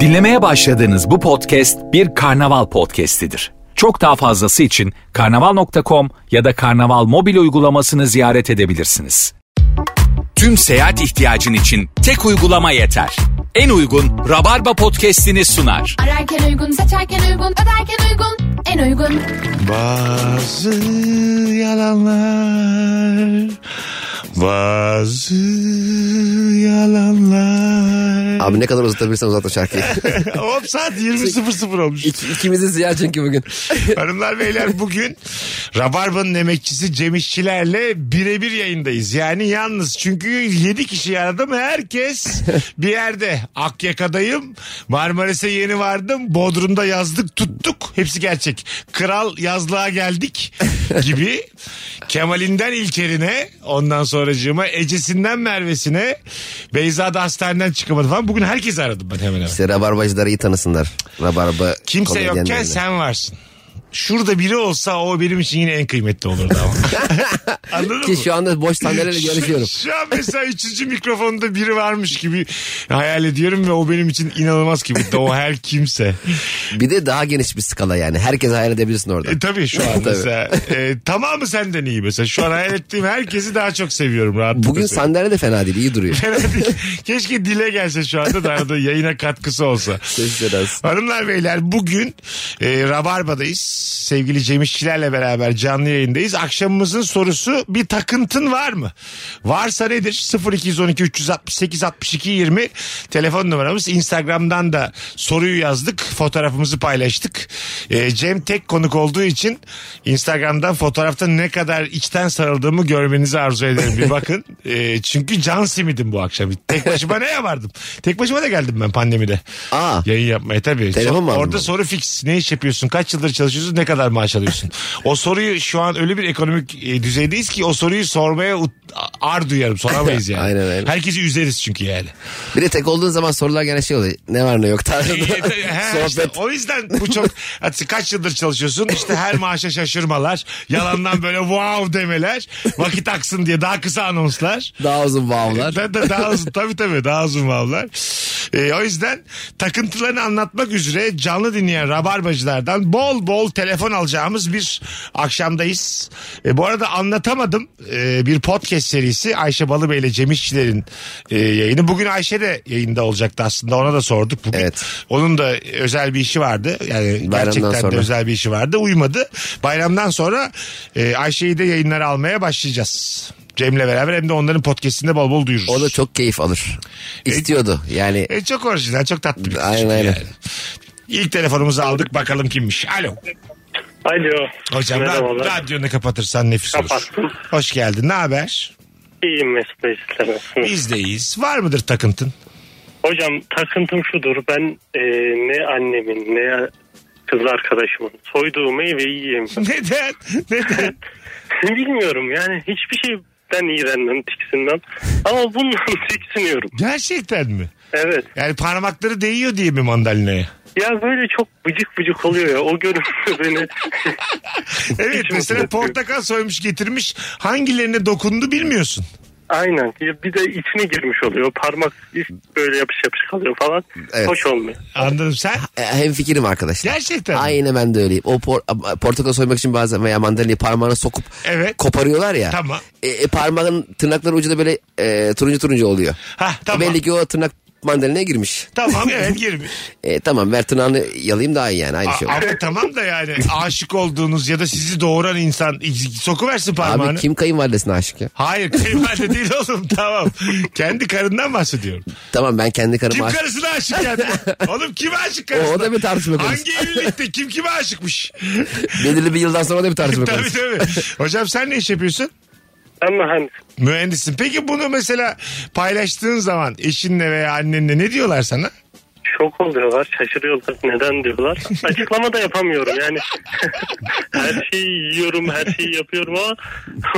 Dinlemeye başladığınız bu podcast bir karnaval podcastidir. Çok daha fazlası için karnaval.com ya da karnaval mobil uygulamasını ziyaret edebilirsiniz. Tüm seyahat ihtiyacın için tek uygulama yeter. En uygun Rabarba podcastini sunar. Ararken uygun, seçerken uygun, öderken uygun, en uygun. Bazı yalanlar Bazı yalanlar Abi ne kadar uzatabilirsen uzatma şarkıyı. Hop saat 20.00 olmuş. İk, ikimizi ziyaret çünkü bugün. Hanımlar beyler bugün Rabarba'nın emekçisi Cem İşçilerle birebir yayındayız. Yani yalnız çünkü 7 kişi aradım herkes bir yerde. Akyaka'dayım. Marmaris'e yeni vardım. Bodrum'da yazdık tuttuk. Hepsi gerçek. Kral yazlığa geldik gibi. Kemal'inden İlker'ine ondan sonracığıma Ece'sinden Merve'sine Beyza'da hastaneden çıkamadı falan. Bugün herkesi aradım ben hemen hemen. İşte rabarbacıları iyi tanısınlar. Rabarba Kimse yokken komedyenlerine. sen varsın. Şurada biri olsa o benim için yine en kıymetli olurdu ama. Anladın mı? Ki şu anda boş sandalyeyle görüşüyorum. Şu, şu an mesela üçüncü mikrofonda biri varmış gibi hayal ediyorum ve o benim için inanılmaz kıymetli. O her kimse. Bir de daha geniş bir skala yani. Herkes hayal edebilirsin orada. E, tabii şu an Tabii. mesela. E, tamamı senden iyi mesela. Şu an hayal ettiğim herkesi daha çok seviyorum. Rahatlıkla Bugün söyleyeyim. sandalye de fena değil iyi duruyor. Keşke dile gelse şu anda da arada yayına katkısı olsa. Ses sedası. Hanımlar beyler bugün e, Rabarba'dayız. Sevgili Cem İşçilerle beraber canlı yayındayız. Akşamımızın sorusu bir takıntın var mı? Varsa nedir? 0212 368 62 20 telefon numaramız. Instagram'dan da soruyu yazdık. Fotoğrafımızı paylaştık. E, Cem tek konuk olduğu için Instagram'dan fotoğrafta ne kadar içten sarıldığımı görmenizi arzu ederim. Bir bakın. E, çünkü can simidim bu akşam. Tek başıma ne yapardım? Tek başıma da geldim ben pandemide. Aa. Yayın yapmaya tabii. Telefon mu aldın Orada bana? soru fix. Ne iş yapıyorsun? Kaç yıldır çalışıyorsun? Ne kadar maaş alıyorsun? o soruyu şu an öyle bir ekonomik e, düzeydeyiz ki o soruyu sormaya ut- ar duyarım. Soramayız yani. Aynen, aynen. Herkesi üzeriz çünkü yani. Bir de tek olduğun zaman sorular gene şey oluyor. Ne var ne yok tarzında. E, e, he, işte, Sohbet. o yüzden bu çok Hadi kaç yıldır çalışıyorsun işte her maaşa şaşırmalar yalandan böyle wow demeler vakit aksın diye daha kısa anonslar Daha uzun bağımlar. Ben de daha uzun tabii tabii daha uzun vavlar. Ee, o yüzden takıntılarını anlatmak üzere canlı dinleyen rabarbacılardan bol bol telefon alacağımız bir akşamdayız. Ee, bu arada anlatamadım ee, bir podcast serisi Ayşe Balıbey ile Cem İşçilerin e, yayını. Bugün Ayşe de yayında olacaktı aslında ona da sorduk bugün. Evet. Onun da özel bir işi vardı. Yani Bayramdan gerçekten de sonra. özel bir işi vardı. Uyumadı. Bayramdan sonra e, Ayşe'yi de yayınlara almaya başlayacağız. Cem'le beraber hem de onların podcastinde bol bol duyururuz. O da çok keyif alır. İstiyordu yani. E, çok orijinal, çok tatlı bir kız Aynen, çünkü aynen. İlk telefonumuzu aldık bakalım kimmiş. Alo. Alo. Hocam ra- Merhabalar. radyonu kapatırsan nefis olur. Kapattım. Hoş geldin. Ne haber? İyiyim Mesut Bey sizler nasılsınız? Bizdeyiz. Var mıdır takıntın? Hocam takıntım şudur. Ben e, ne annemin ne kız arkadaşımın soyduğu meyveyi yiyemiyorum. Neden? Neden? Bilmiyorum yani hiçbir şeyden iğrenmem, tiksinmem. Ama bundan tiksiniyorum. Gerçekten mi? Evet. Yani parmakları değiyor diye mi mandalinaya? Ya böyle çok bıcık bıcık oluyor ya. O görüntü beni... Evet Hiç mesela mutlu etmiyor. portakal soymuş getirmiş hangilerine dokundu bilmiyorsun. Aynen. Ya Bir de içine girmiş oluyor. Parmak böyle yapış yapış kalıyor falan. Evet. Hoş olmuyor. Anladım sen E, Hem fikrim arkadaşlar. gerçekten. mi? Aynen ben de öyleyim. O por- portakal soymak için bazen veya mandalinayı parmağına sokup Evet. koparıyorlar ya. Tamam. E, e, parmağın tırnakları ucu da böyle e, turuncu turuncu oluyor. E, Hah, tamam. Belli ki o tırnak mandalinaya girmiş. Tamam evet girmiş. E, tamam ver tırnağını yalayayım daha iyi yani aynı şey. A- olur. Ama tamam da yani aşık olduğunuz ya da sizi doğuran insan sokuversin parmağını. Abi kim kayınvalidesine aşık ya? Hayır kayınvalide değil oğlum tamam. Kendi karından bahsediyorum. Tamam ben kendi Kim karıma aşık. karısına aşık yani? Oğlum kime aşık karısına? O- o da bir tartışma konusu. Hangi evlilikte kim kime aşıkmış? Belirli bir yıldan sonra da bir tartışma tabii konusu. tabii. Hocam sen ne iş yapıyorsun? Ben mühendisim. Mühendisin. Peki bunu mesela paylaştığın zaman eşinle veya annenle ne diyorlar sana? şok oluyorlar, şaşırıyorlar. Neden diyorlar. Açıklama da yapamıyorum yani. her şeyi yiyorum, her şeyi yapıyorum ama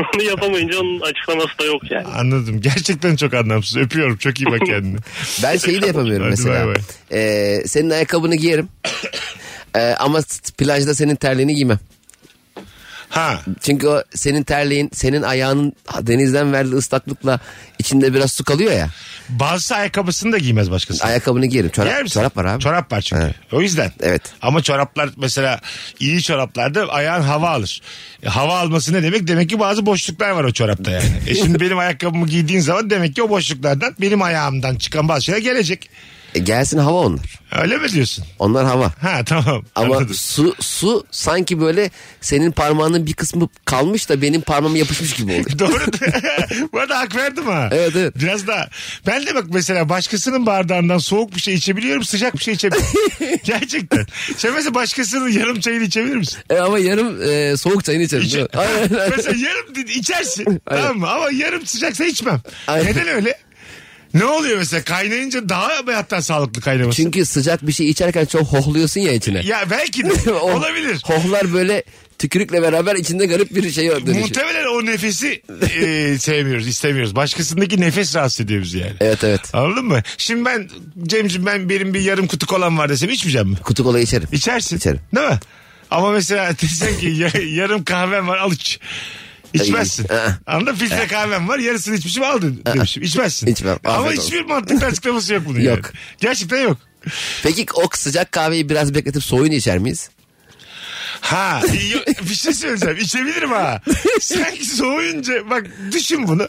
onu yapamayınca onun açıklaması da yok yani. Anladım. Gerçekten çok anlamsız. Öpüyorum. Çok iyi bak kendine. Ben şeyi de Şey yapamıyorum Hadi mesela. bay bay. E, senin Ee, ayakkabını giyerim. E, ama s- plajda senin terliğini giymem. Ha. Çünkü o senin terliğin, senin ayağının denizden verdiği ıslaklıkla içinde biraz su kalıyor ya. Bazısı ayakkabısını da giymez başkası. Ayakkabını giyerim. Yer Çorap, misin? çorap var abi. Çorap var çünkü. O yüzden. Evet. Ama çoraplar mesela iyi çoraplarda ayağın hava alır. E, hava alması ne demek? Demek ki bazı boşluklar var o çorapta yani. e şimdi benim ayakkabımı giydiğin zaman demek ki o boşluklardan benim ayağımdan çıkan bazı şeyler gelecek. E, gelsin hava onlar. Öyle mi diyorsun? Onlar hava. Ha tamam. Ama Anladım. su su sanki böyle senin parmağının bir kısmı kalmış da benim parmağıma yapışmış gibi oluyor. Doğru. Bu arada hak verdim ha. Evet, evet. Biraz daha. Ben de bak mesela başkasının bardağından soğuk bir şey içebiliyorum sıcak bir şey içebiliyorum. Gerçekten. Sen mesela başkasının yarım çayını içebilir misin? E, ama yarım e, soğuk çayını içerim. İçe- değil mi? Aynen, aynen. mesela yarım di- içersin Aynen. tamam mı? Ama yarım sıcaksa içmem. Aynen. Neden öyle? Ne oluyor mesela kaynayınca daha mı hatta sağlıklı kaynaması? Çünkü sıcak bir şey içerken çok hohluyorsun ya içine. Ya belki de O- olabilir. Hohlar böyle tükürükle beraber içinde garip bir şey dönüşüyor. Muhtemelen o nefesi e, sevmiyoruz, istemiyoruz. Başkasındaki nefes rahatsız ediyor bizi yani. Evet evet. Anladın mı? Şimdi ben Cem'ciğim ben benim bir yarım kutu kolam var desem içmeyeceğim mi? Kutu kola içerim. İçersin. İçerim. Değil mi? Ama mesela desen ki ya- yarım kahvem var al iç. İçmezsin. Ay, aa. Anladın mı? Filtre kahvem var yarısını içmişim aldın demişim. İçmezsin. İçmem, Ama afiyet hiçbir mantıklı açıklaması yok bunun Yok. yani. Gerçekten yok. Peki o sıcak kahveyi biraz bekletip soğuyunu içer miyiz? Ha yo- bir şey söyleyeceğim içebilirim ha. Sanki soğuyunca bak düşün bunu.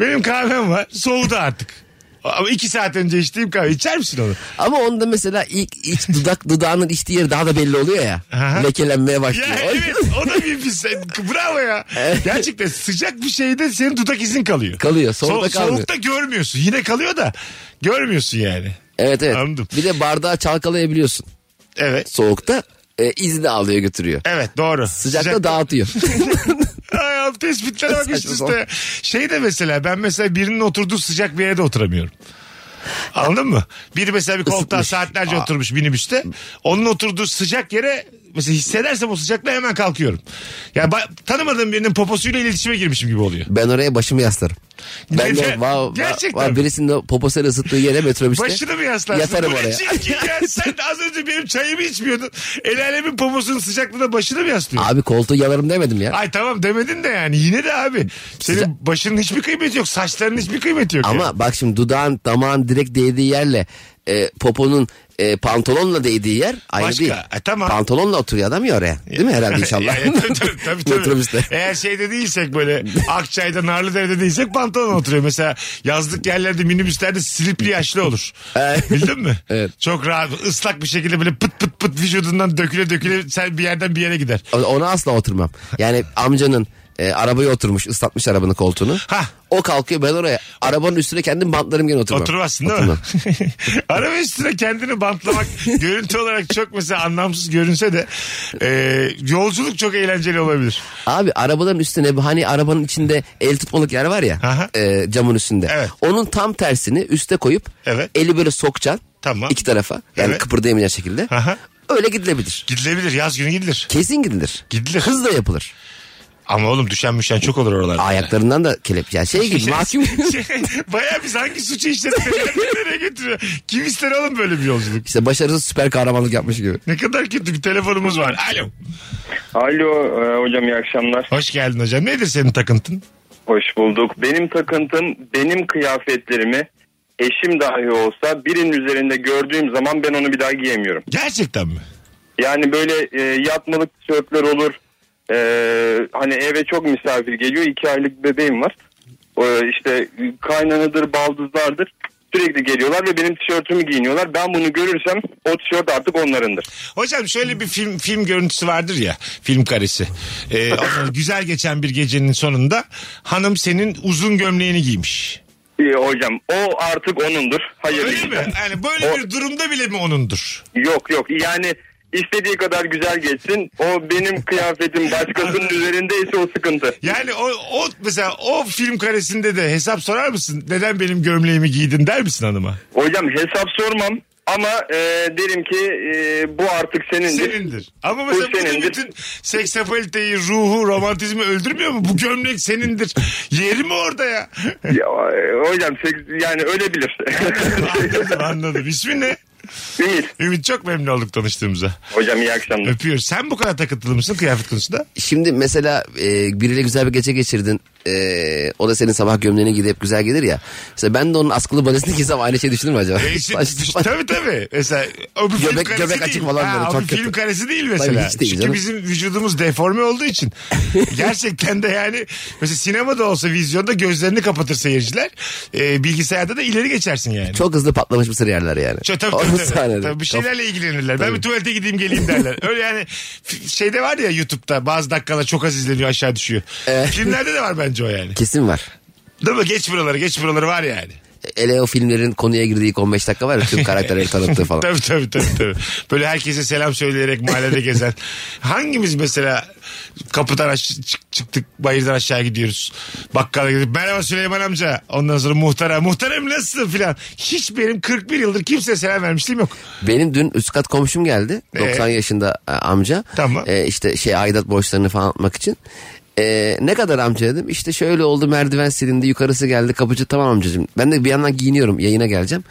Benim kahvem var soğudu artık. Ama iki saat önce içtiğim kahve içer misin onu? Ama onda mesela ilk iç dudak dudağının içtiği yeri daha da belli oluyor ya. Aha. Lekelenmeye başlıyor. Ya evet o da bir pis. Bravo ya. Gerçekten sıcak bir şeyde senin dudak izin kalıyor. Kalıyor, soğukta kalmıyor. Soğukta görmüyorsun. Yine kalıyor da görmüyorsun yani. evet evet. Anladım. Bir de bardağı çalkalayabiliyorsun Evet. soğukta. E, izi de alıyor götürüyor. Evet doğru. Sıcakta dağıtıyor. Ay abi tespitlere bak üst Saçma üste. Şey de mesela ben mesela birinin oturduğu sıcak bir yerde oturamıyorum. Anladın mı? Biri mesela bir koltuğa Isıtmış. saatlerce oturmuş minibüste. Onun oturduğu sıcak yere mesela hissedersem o sıcaklığı hemen kalkıyorum. Ya ba- tanımadığım birinin poposuyla iletişime girmişim gibi oluyor. ben oraya başımı yaslarım. Ben de Ger- va, va, gerçekten mi? va, birisinin o poposuyla ısıttığı yere metrobüste. Başını mı yaslarsın? Yatarım Bu ne oraya. çirkin ya? Sen de az önce benim çayımı içmiyordun. El alemin poposunun sıcaklığına başını mı yaslıyorsun? Abi koltuğu yalarım demedim ya. Ay tamam demedin de yani yine de abi. Senin Sıca- başının hiçbir kıymeti yok. Saçlarının hiçbir kıymeti yok. yani. Ama bak şimdi dudağın damağın direkt değdiği yerle e, poponun e, pantolonla değdiği yer ayrı Başka. değil. E, tamam. Pantolonla oturuyor adam ya oraya. Değil mi herhalde inşallah? Ya, ya, tabii, tabii, tabii, tabii. Metrobüste. Eğer şeyde değilsek böyle Akçay'da Narlıdere'de değilsek pantolon oturuyor. Mesela yazlık yerlerde minibüslerde slipli yaşlı olur. Evet. Bildin mi? Evet. Çok rahat ıslak bir şekilde böyle pıt pıt pıt vücudundan döküle döküle sen bir yerden bir yere gider. O- Ona asla oturmam. Yani amcanın e, arabaya oturmuş ıslatmış arabanın koltuğunu. Hah. O kalkıyor ben oraya arabanın üstüne kendim bantlarım gene oturmam. Oturmazsın değil mi? Oturmam. Araba üstüne kendini bantlamak görüntü olarak çok mesela anlamsız görünse de e, yolculuk çok eğlenceli olabilir. Abi arabaların üstüne hani arabanın içinde el tutmalık yer var Aha. ya e, camın üstünde. Evet. Onun tam tersini üste koyup Evet. eli böyle sokacaksın. Tamam. iki tarafa. Yani Evet. kıpırdayamayacağı şekilde. Aha. Öyle gidilebilir. Gidilebilir yaz günü gidilir. Kesin gidilir. Gidilir. Hızla yapılır. Ama oğlum düşen müşen çok olur oralarda. Ayaklarından da kelep. Ya şey gibi mahkum. Şey, Baya biz hangi suçu işledik nereye götürüyor? Kim ister oğlum böyle bir yolculuk? işte başarısız süper kahramanlık yapmış gibi. Ne kadar kötü bir telefonumuz var. Alo. Alo e, hocam iyi akşamlar. Hoş geldin hocam. Nedir senin takıntın? Hoş bulduk. Benim takıntım benim kıyafetlerimi eşim dahi olsa birinin üzerinde gördüğüm zaman ben onu bir daha giyemiyorum. Gerçekten mi? Yani böyle e, yatmalık tişörtler olur. E, hani eve çok misafir geliyor. İki aylık bebeğim var. E, işte kaynanıdır, baldızlardır. Sürekli geliyorlar ve benim tişörtümü giyiniyorlar. Ben bunu görürsem o tişört artık onlarındır. Hocam şöyle bir film film görüntüsü vardır ya film karesi. Ee, ondan güzel geçen bir gecenin sonunda hanım senin uzun gömleğini giymiş. E, hocam o artık onundur. Hayır. Öyle mi? Yani böyle bir durumda bile mi onundur? Yok yok yani istediği kadar güzel geçsin. O benim kıyafetim başkasının üzerindeyse o sıkıntı. Yani o, o mesela o film karesinde de hesap sorar mısın? Neden benim gömleğimi giydin der misin hanıma? Hocam hesap sormam ama e, derim ki e, bu artık senindir. Senindir. Ama mesela Bu bu da senindir. bütün seksapaliteyi, ruhu, romantizmi öldürmüyor mu? Bu gömlek senindir. Yeri mi orada ya? Ya, e, hocam seks- yani ölebilir. anladım anladım. İsmin ne? Ümit. Ümit çok memnun olduk tanıştığımıza. Hocam iyi akşamlar. Öpüyoruz. Sen bu kadar takıntılı mısın kıyafet konusunda? Şimdi mesela e, biriyle güzel bir gece geçirdin. E, o da senin sabah gömleğine gidip hep güzel gelir ya. Mesela ben de onun askılı balesini giysem aynı şey düşünür mü acaba? E, işte, Baş- işte, tabii tabii. Mesela o bir film Göbek- karesi göbek değil. açık falan böyle, Ha, o çok bir kötü. film karesi değil mesela. Tabii hiç değil Çünkü canım. bizim vücudumuz deforme olduğu için. Gerçekten de yani mesela sinemada olsa vizyonda gözlerini kapatır seyirciler. E, bilgisayarda da ileri geçersin yani. Çok hızlı patlamış mısır yerler yani. Çok, tabii, Onun tabii, tabii. sahneleri. Tabii bir şeylerle ilgilenirler. Ben bir tuvalete gideyim geleyim derler. Öyle yani f- şeyde var ya YouTube'da bazı dakikalar çok az izleniyor aşağı düşüyor. Filmlerde de var bence o yani. Kesin var. Değil mi? Geç buraları geç buraları var yani. Ele o filmlerin konuya girdiği ilk 15 dakika var ya tüm karakterleri tanıttığı falan. Tabii tabii tabii. tabii. Böyle herkese selam söyleyerek mahallede gezen. Hangimiz mesela kapıdan aş- çık- çıktık bayırdan aşağı gidiyoruz. Bakkala gidip merhaba Süleyman amca. Ondan sonra muhtara muhtarım nasılsın filan. Hiç benim 41 yıldır kimseye selam vermişliğim yok. Benim dün üst kat komşum geldi. Ee? 90 yaşında e, amca. Tamam. E, işte şey aidat borçlarını falan atmak için. E, ne kadar amca dedim. İşte şöyle oldu merdiven silindi yukarısı geldi kapıcı tamam amcacığım. Ben de bir yandan giyiniyorum yayına geleceğim.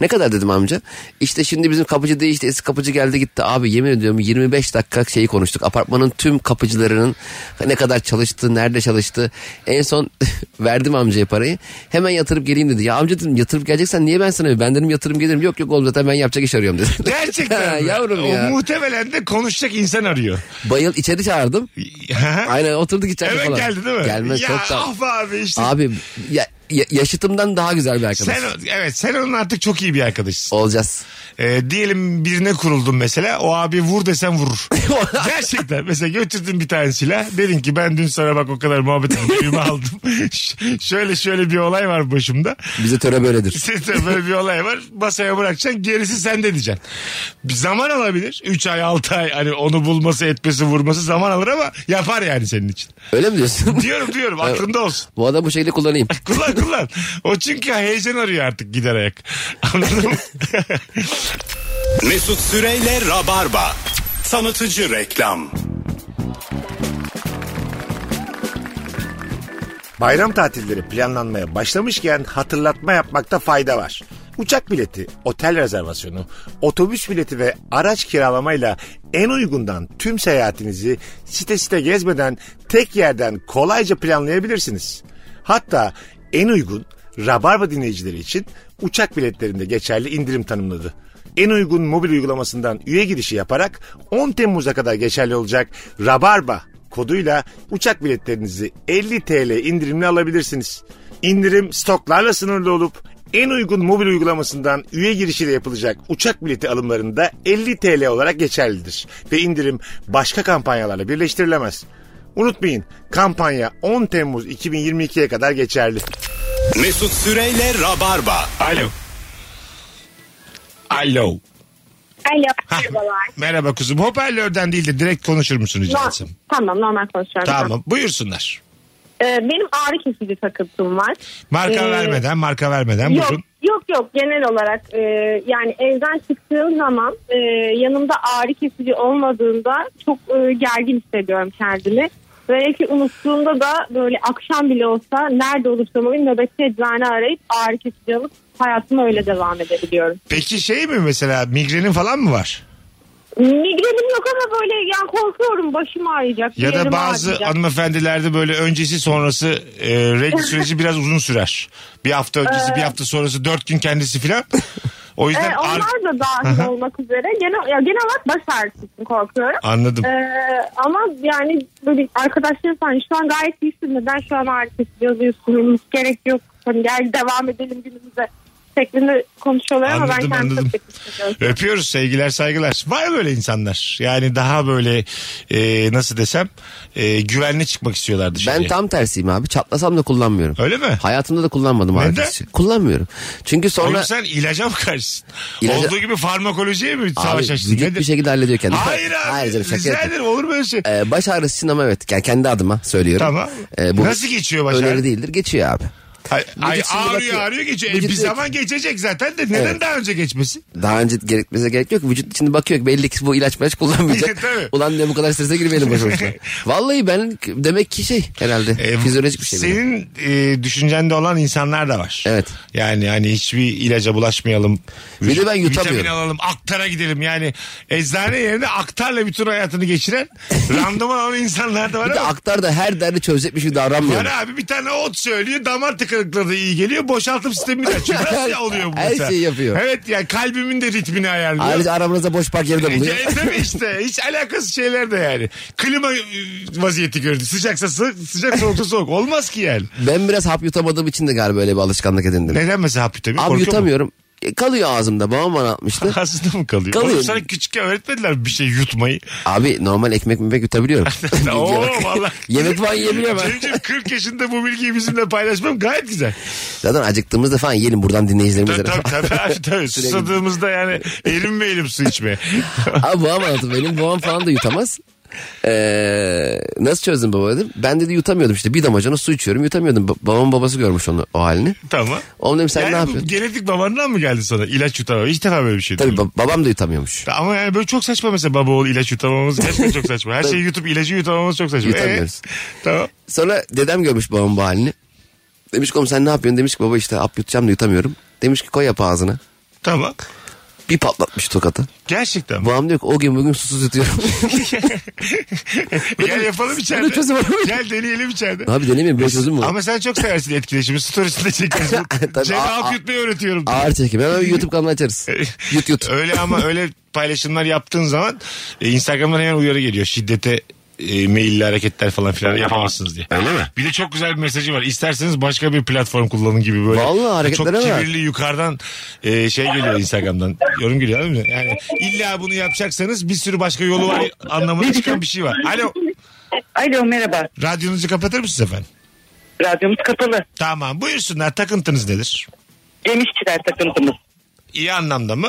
Ne kadar dedim amca. İşte şimdi bizim kapıcı değişti eski kapıcı geldi gitti. Abi yemin ediyorum 25 dakika şeyi konuştuk. Apartmanın tüm kapıcılarının ne kadar çalıştı, nerede çalıştı. En son verdim amcaya parayı. Hemen yatırıp geleyim dedi. Ya amca dedim yatırıp geleceksen niye ben sana ben dedim yatırım gelirim. Yok yok oğlum zaten ben yapacak iş arıyorum dedi. Gerçekten mi? Yavrum o ya. muhtemelen de konuşacak insan arıyor. Bayıl içeri çağırdım. Aynen oturduk içeride Hemen falan. geldi değil mi? Gelmez ya, çok da. ah be abi işte. Abi ya, ya- yaşıtımdan daha güzel bir arkadaş. Sen, evet sen onun artık çok iyi bir arkadaşısın. Olacağız. Ee, diyelim birine kuruldun mesela o abi vur desen vurur. Gerçekten mesela götürdün bir tane silah dedin ki ben dün sana bak o kadar muhabbetin birimi aldım. Ş- şöyle şöyle bir olay var başımda. Bize töre böyledir. Sizde böyle bir olay var masaya bırakacaksın gerisi sende diyeceksin. Bir zaman alabilir 3 ay 6 ay hani onu bulması etmesi vurması zaman alır ama yapar yani senin için. Öyle mi diyorsun? Diyorum diyorum aklında olsun. Bu adam bu şekilde kullanayım. Kullan kullan. O çünkü heyecan arıyor artık gider ayak. Anladın mı? Mesut Süreyle Rabarba. Tanıtıcı reklam. Bayram tatilleri planlanmaya başlamışken hatırlatma yapmakta fayda var. Uçak bileti, otel rezervasyonu, otobüs bileti ve araç kiralamayla en uygundan tüm seyahatinizi site site gezmeden tek yerden kolayca planlayabilirsiniz. Hatta en uygun Rabarba dinleyicileri için uçak biletlerinde geçerli indirim tanımladı. En uygun mobil uygulamasından üye girişi yaparak 10 Temmuz'a kadar geçerli olacak Rabarba koduyla uçak biletlerinizi 50 TL indirimle alabilirsiniz. İndirim stoklarla sınırlı olup en uygun mobil uygulamasından üye girişiyle yapılacak uçak bileti alımlarında 50 TL olarak geçerlidir ve indirim başka kampanyalarla birleştirilemez. Unutmayın kampanya 10 Temmuz 2022'ye kadar geçerli. Mesut Süreyle Rabarba. Alo. Alo. Alo. Hah, Merhabalar. merhaba kuzum. Hoparlörden değil de direkt konuşur musun rica No- etsem? tamam normal konuşuyorum. Tamam. Buyursunlar. Ee, benim ağrı kesici takıntım var. Marka Ee, vermeden, marka vermeden Yok buyurun. yok yok genel olarak e, yani evden çıktığım zaman e, yanımda ağrı kesici olmadığında çok e, gergin hissediyorum kendimi. Belki unuttuğumda da böyle akşam bile olsa nerede olursam olayım nöbetçi eczane arayıp ağrı kesici alıp hayatıma öyle devam edebiliyorum. Peki şey mi mesela migrenin falan mı var? Migrenim yok ama böyle yani korkuyorum başım ağrıyacak. bir Ya da yerim bazı ağrıyacak. hanımefendilerde böyle öncesi sonrası e, regl süreci biraz uzun sürer. Bir hafta öncesi, bir hafta sonrası, dört gün kendisi filan. O yüzden Ee, ar- onlar da dahil Aha. olmak üzere. Genel, ya genel olarak baş ağrısı için korkuyorum. anladım. Ee, ama yani böyle arkadaşlarım falan şu an gayet iyisin. Neden şu an ağrı kesici yazıyorsunuz? Hiç gerek yok. Hani gel devam edelim günümüze şeklinde konuşuyorlar ama Anladım, ben kendimi anladım. çok kötü hissediyorum. Öpüyoruz sevgiler saygılar. Var böyle insanlar. Yani daha böyle e, nasıl desem e, güvenli çıkmak istiyorlar dışarıya. Ben tam tersiyim abi. Çatlasam da kullanmıyorum. Öyle mi? Hayatımda da kullanmadım Neden? arkadaşı. Kullanmıyorum. Çünkü Oğlum sonra sen ilaca mı karşısın? İlaca- Olduğu gibi farmakolojiye mi abi, savaş açtın? vücut Nedir? bir şekilde hallediyor kendini. Hayır abi. canım, şaka rica yapıyorum. ederim olur mu öyle şey? Ee, baş ağrısı için ama evet yani kendi adıma söylüyorum. Tamam. Nasıl geçiyor baş Öneri ağrı? değildir geçiyor abi. Ay, ay, Vücut şimdi ağrıyor bakıyor. ağrıyor geçiyor. E, Vücut bir diyor ki- zaman geçecek zaten de neden Evet. daha önce geçmesin? Daha önce gerekmese gerek yok. Vücut içinde bakıyor ki belli ki bu ilaç ilaç kullanmayacak. Tabii. Ulan diyor bu kadar strese girmeyelim boş boşuna. Vallahi ben demek ki şey herhalde E, fizyolojik bir şey. bu. Senin e, düşüncende olan insanlar da var. Evet. Yani hani hiçbir ilaca bulaşmayalım. Bir de ben Vit- yutamıyorum. Vitamin alalım, aktara gidelim. Yani eczane yerine aktarla bütün hayatını geçiren randıman olan insanlar da var Bir de ama aktar da her derdi çözecekmiş gibi davranmıyor. var abi bir tane ot söylüyor damar tıkanıklığı da iyi geliyor boşaltım sistemi de açıyor. Nasıl oluyor bu Her mesela? şeyi yapıyor. Evet yani kalbimin de ritmini ayarlıyor. Ayrıca aramızda boş park yeri de buluyor. E, Değil mi işte? Hiç alakası şeyler de yani. Klima e, vaziyeti gördü. Sıcaksa sıcak, sıcak soğuksa soğuk. Olmaz ki yani. ben biraz hap yutamadığım için de galiba böyle bir alışkanlık edindim. Neden mesela hap yutabiliyor? Abi Korkuyor mu? yutamıyorum. E, kalıyor ağzımda. Babam bana atmıştı. Ağzında mı kalıyor? Kalıyor. Oğlum sana küçükken öğretmediler mi bir şey yutmayı. Abi normal ekmek memek yutabiliyorum. Bilgiye Oo bak. valla. Yemek falan yiyebiliyorum ben. Cemciğim 40 yaşında bu bilgiyi bizimle paylaşmam gayet güzel. Zaten acıktığımızda falan yiyelim buradan dinleyicilerimize. Tabii tabii tabii. abi, tabii. Susadığımızda yani erinmeyelim su içmeye. Abi babam anlattı benim babam falan da yutamaz. Ee, nasıl çözdün baba dedim. Ben dedi yutamıyordum işte bir damacana su içiyorum yutamıyordum. Ba- babamın babası görmüş onu o halini. tamam. Oğlum dedim sen yani ne bu yapıyorsun? Genetik babandan mı geldi sana ilaç yutamam? İlk defa böyle bir şey Tabii duydum. ba- babam da yutamıyormuş. Ama yani böyle çok saçma mesela baba oğul ilaç yutamamız gerçekten çok saçma. Her şeyi yutup ilacı yutamamız çok saçma. Yutamıyoruz. Ee, tamam. Sonra dedem görmüş babamın bu halini. Demiş ki oğlum sen ne yapıyorsun? Demiş ki baba işte hap yutacağım da yutamıyorum. Demiş ki koy hap ağzına. Tamam. Bir patlatmış tokatı. Gerçekten. Babam diyor ki o gün bugün susuz yutuyorum. E, Gel yapalım içeride. Bunun çözümü var mı? Gel deneyelim içeride. Abi denemiyorum böyle çözüm mü? Ama sen çok seversin etkileşimi. Stories'inde çekeriz. Tabii, Cem a- halk a- yutmayı öğretiyorum. Ağır çekim. Hemen bir YouTube kanalı açarız. E, Yut yut. öyle ama öyle paylaşımlar yaptığın zaman e, Instagram'dan hemen uyarı geliyor. Şiddete e, meyilli hareketler falan filan yapamazsınız diye. Öyle mi? Bir de çok güzel bir mesajı var. İsterseniz başka bir platform kullanın gibi böyle. Vallahi hareketlere Çok bak. kibirli yukarıdan e, şey geliyor Instagram'dan. Yorum geliyor değil mi? Yani illa bunu yapacaksanız bir sürü başka yolu var anlamına çıkan bir şey var. Alo. Alo merhaba. Radyonuzu kapatır mısınız efendim? Radyomuz kapalı. Tamam buyursunlar takıntınız nedir? Gemişçiler takıntımız. İyi anlamda mı?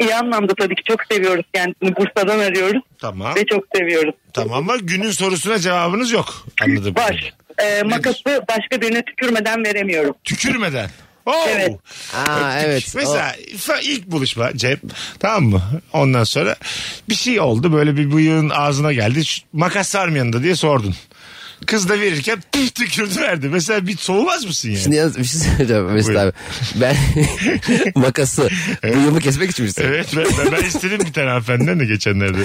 İyi anlamda tabii ki çok seviyoruz kendisini. Bursa'dan arıyoruz Tamam. ve çok seviyoruz. Tamam ama günün sorusuna cevabınız yok. Anladım. Var. Ee, makası başka birine tükürmeden veremiyorum. Tükürmeden. Oo. Evet. Aa Öptük. evet. E, Mesela fa- ilk buluşma Cem tamam mı? Ondan sonra bir şey oldu böyle bir bıyığın ağzına geldi. Şu- Makas var mı yanında diye sordun. Kız da verirken püf tükürdü verdi. Mesela bir soğumaz mısın yani? E, Şimdi yalnız bir şey söyleyeceğim Mesut Buyurun. E? abi. Ben makası bıyığımı kesmek için mi istedim? Evet ben, ben, ben istedim bir tane hanımefendiden de geçenlerde.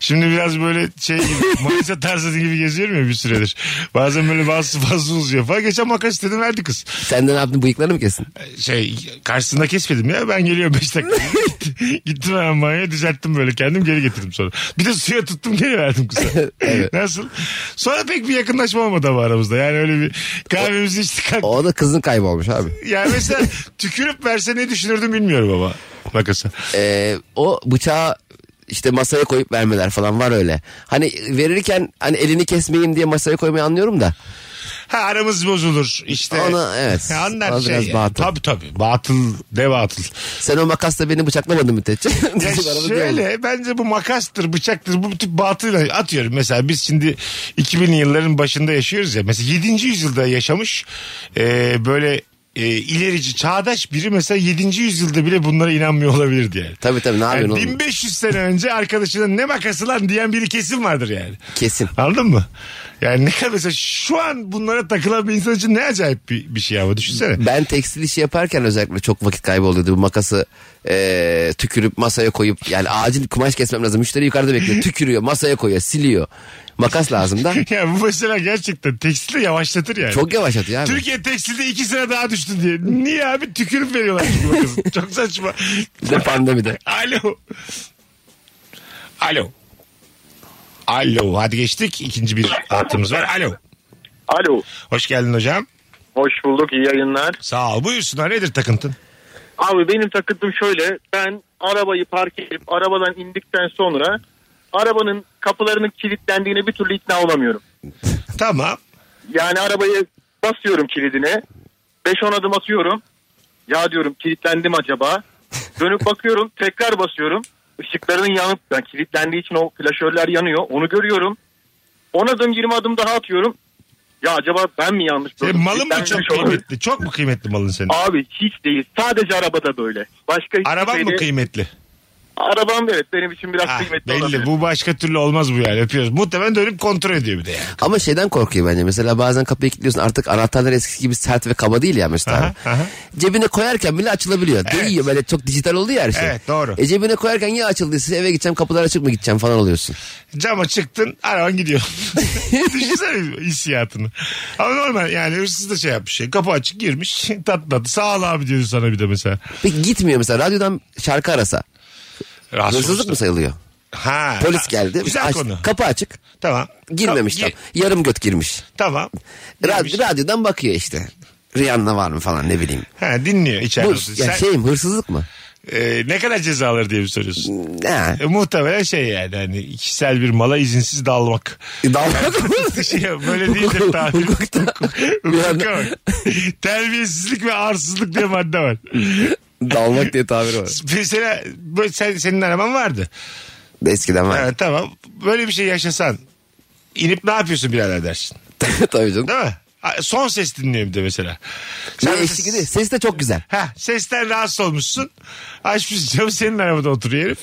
Şimdi biraz böyle şey gibi Manisa tarzı gibi geziyorum ya bir süredir. Bazen böyle bazı fazla uzuyor falan. Geçen makas istedim verdi kız. Sen de ne yaptın bıyıklarını mı kestin? şey karşısında kesmedim ya ben geliyorum 5 dakika. Gittim hemen banyoya düzelttim böyle kendim geri getirdim sonra. Bir de suya tuttum geri verdim kıza. Nasıl? Sonra pek bir yakınlaşma olmadı ama aramızda. Yani öyle bir kahvemizi içtik. kalktık. O da kızın kaybolmuş abi. Yani mesela tükürüp verse ne düşünürdüm bilmiyorum ama makası. Ee, o bıçağı işte masaya koyup vermeler falan var öyle. Hani verirken hani elini kesmeyeyim diye masaya koymayı anlıyorum da. Ha aramız bozulur işte. Ona, evet. Ha, anlar Ona şey. biraz yani. batıl. Tabii tabii. Batıl. De batıl. Sen o makasla beni bıçaklamadın müddetçe. Ya şöyle bence bu makastır bıçaktır bu tip batıyla atıyorum mesela biz şimdi 2000'li yılların başında yaşıyoruz ya mesela 7. yüzyılda yaşamış e, böyle e, ilerici çağdaş biri mesela 7. yüzyılda bile bunlara inanmıyor olabilirdi yani. Tabii tabii ne Yani yapıyorsun oğlum? 1500 sene önce arkadaşına ne makası lan diyen biri kesin vardır yani. Kesin. Anladın mı? Yani ne kadar mesela şu an bunlara takılan bir insan için ne acayip bir, bir şey ama düşünsene. Ben tekstil işi yaparken özellikle çok vakit kayboluyordu. Bu makası eee, tükürüp masaya koyup yani acil kumaş kesmem lazım. Müşteri yukarıda bekliyor. Tükürüyor, masaya koyuyor, siliyor. Makas lazım da. Ya bu mesela gerçekten tekstili yavaşlatır yani. Çok yavaşlatıyor abi. Türkiye tekstilde iki sıra daha düştü diye. Niye abi tükürüp veriyorlar çünkü makası. Çok saçma. Bir de pandemide. Alo. Alo. Alo. Hadi geçtik. İkinci bir hattımız var. Alo. Alo. Hoş geldin hocam. Hoş bulduk. iyi yayınlar. Sağ ol. Buyursunlar. Nedir takıntın? Abi benim takıntım şöyle. Ben arabayı park edip arabadan indikten sonra arabanın kapılarının kilitlendiğine bir türlü ikna olamıyorum. Tamam. Yani arabayı basıyorum kilidine. 5-10 adım atıyorum. Ya diyorum kilitlendim acaba. Dönüp bakıyorum tekrar basıyorum. Işıklarının yanıp yani kilitlendiği için o flaşörler yanıyor. Onu görüyorum. 10 adım 20 adım daha atıyorum. Ya acaba ben mi yanlış Senin gördüm? E, malın Ben mı çok yanlış olabilirim. kıymetli? Çok mu kıymetli malın senin? Abi hiç değil. Sadece arabada böyle. Başka hiçbir Araban mı şeyde- kıymetli? Arabam evet benim için biraz Ah, kıymetli olabilir. belli bu başka türlü olmaz bu yani öpüyoruz. Muhtemelen dönüp kontrol ediyor bir de yani. Ama şeyden korkuyor bence. Mesela bazen kapıyı kilitliyorsun artık anahtarlar eskisi gibi sert ve kaba değil ya Mesut abi. Aha, aha. Cebine koyarken bile açılabiliyor. Değiyor böyle çok dijital oldu ya her şey. Evet, doğru. E cebine koyarken ya açıldıysa eve gideceğim kapılar açık mı gideceğim falan oluyorsun. Cama çıktın araban gidiyor. Düşünsene hissiyatını. Ama normal yani hırsız da şey yapmış. Şey. Kapı açık girmiş tatlı tatlı sağ ol abi diyordu sana bir de mesela. Peki gitmiyor mesela radyodan şarkı arasa. Rahatsız Hırsızlık olursun. mı sayılıyor? Ha. Polis geldi. Güzel aç- konu. Kapı açık. Tamam. Girmemiş Tamam, tam. gi- Yarım göt girmiş. Tamam. Rad- radyodan bakıyor işte. Rihanna var mı falan ne bileyim. Ha, dinliyor içeride. Bu olsun. ya Sen, şeyim hırsızlık mı? e, ne kadar ceza alır diye bir soruyorsun. Ne? E, muhtemelen şey yani hani kişisel bir mala izinsiz dalmak. E, Dalmak mı? şey, böyle değildir tabir. Hukukta. Hukuka bak. Terbiyesizlik ve arsızlık diye madde var. Dalmak diye tabiri var. Mesela böyle sen, senin araban vardı. Eskiden var. Ha, tamam. Böyle bir şey yaşasan inip ne yapıyorsun birader dersin. Tabii canım. Değil mi? Ha, Son ses dinliyor bir de mesela. Ne mesela- eşlik ediyor. Ses de çok güzel. Ha, sesten rahatsız olmuşsun. Açmış camı senin arabada oturuyor herif.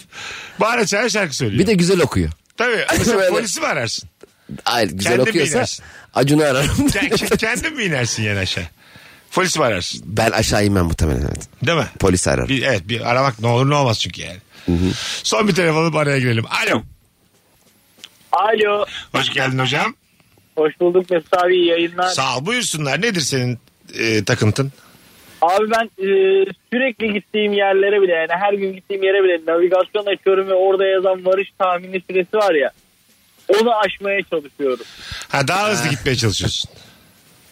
Bağıra çağıra şarkı söylüyor. Bir de güzel okuyor. Tabii. Mesela Böyle. polisi mi ararsın? Hayır güzel Kendin okuyorsa bilirsin. Acun'u ararım. Ke- Kendin mi inersin yani aşağı? Polisi mi ararsın? ben aşağı inmem muhtemelen. Evet. Değil mi? Polisi ararım. Bir, evet bir aramak ne olur ne olmaz çünkü yani. Son bir telefon alıp araya girelim. Alo. Alo. Hoş geldin hocam. Hoş bulduk Mesut abi iyi yayınlar. Sağ ol. Buyursunlar. Nedir senin e, takıntın? Abi ben e, sürekli gittiğim yerlere bile yani her gün gittiğim yere bile navigasyon açıyorum ve orada yazan varış tahmini süresi var ya. Onu aşmaya çalışıyorum. Ha daha hızlı gitmeye çalışıyorsun.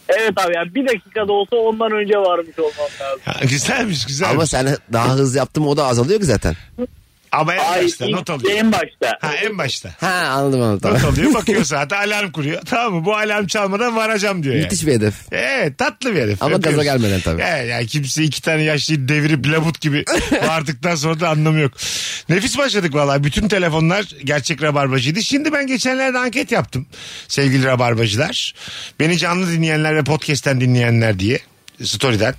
Evet abi yani bir dakikada olsa ondan önce varmış olmam lazım. Ha, güzelmiş güzelmiş. Ama Ama, sen daha hızlı yaptın mı o da azalıyor ki zaten. en Ay, başta not alıyor. en başta. Ha en başta. Ha anladım anladım. Not Tamam. alıyor bakıyor saate alarm kuruyor. Tamam mı? Bu alarm çalmadan varacağım diyor yani. Müthiş bir hedef. Evet Ee, tatlı bir herif. Ama Öpüyoruz. gaza gelmeden tabii. Evet yani kimse iki tane yaşlıyı devirip labut gibi bağırdıktan sonra da anlamı yok. Nefis başladık vallahi. Bütün telefonlar gerçek rabarbacıydı. Şimdi ben geçenlerde anket yaptım sevgili rabarbacılar. Beni canlı dinleyenler ve podcast'ten dinleyenler diye story'den.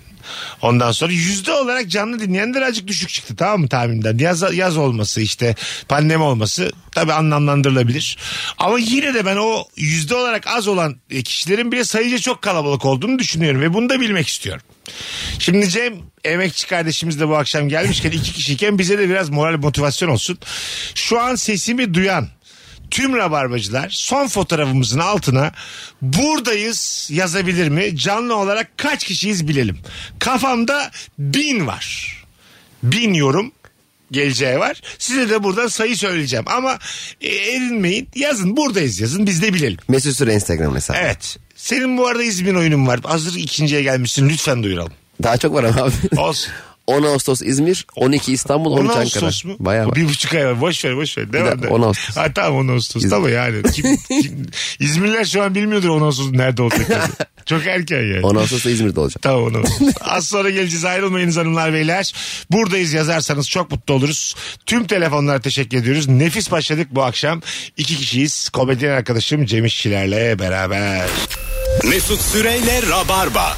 Ondan sonra yüzde olarak canlı dinleyenler azıcık düşük çıktı tamam mı tahminimden. Yaz, yaz olması işte pandemi olması tabi anlamlandırılabilir. Ama yine de ben o yüzde olarak az olan e, kişilerin bile sayıca çok kalabalık olduğunu düşünüyorum ve bunu da bilmek istiyorum. Şimdi Cem emekçi kardeşimiz de bu akşam gelmişken iki kişiyken bize de biraz moral motivasyon olsun. Şu an sesimi duyan tüm rabarbacılar son fotoğrafımızın altına buradayız yazabilir mi? Canlı olarak kaç kişiyiz bilelim. Kafamda bin var. Bin yorum geleceği var. Size de buradan sayı söyleyeceğim ama e, erinmeyin. Yazın buradayız yazın biz de bilelim. Mesut Süre Instagram hesabı. Evet. Senin bu arada İzmir oyunun var. Hazır ikinciye gelmişsin lütfen duyuralım. Daha çok var ama abi. Olsun. 10 Ağustos İzmir, 12 İstanbul, 13 10 Ankara. Ağustos mu? Bayağı var. Bir buçuk ay var. Boş ver boş ver. Bir Devam de. de 10 Ağustos. Ha, tamam 10 Ağustos. Tamam yani. Kim, kim- İzmirliler şu an bilmiyordur 10 Ağustos nerede olacak. Çok erken yani. 10 Ağustos'ta İzmir'de olacağım. Tamam onu. Az sonra geleceğiz ayrılmayınız hanımlar beyler. Buradayız yazarsanız çok mutlu oluruz. Tüm telefonlara teşekkür ediyoruz. Nefis başladık bu akşam. İki kişiyiz. Komedyen arkadaşım Cem İşçilerle beraber. Mesut Süreyle Rabarba.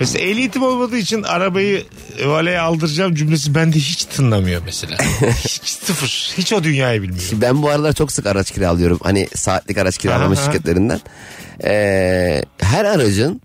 Mesela ehliyetim olmadığı için arabayı valeye aldıracağım cümlesi bende hiç tınlamıyor mesela. hiç sıfır. Hiç o dünyayı bilmiyor. Ki Ben bu aralar çok sık araç kiralıyorum. Hani saatlik araç kiralama Aha. şirketlerinden. Ee, her aracın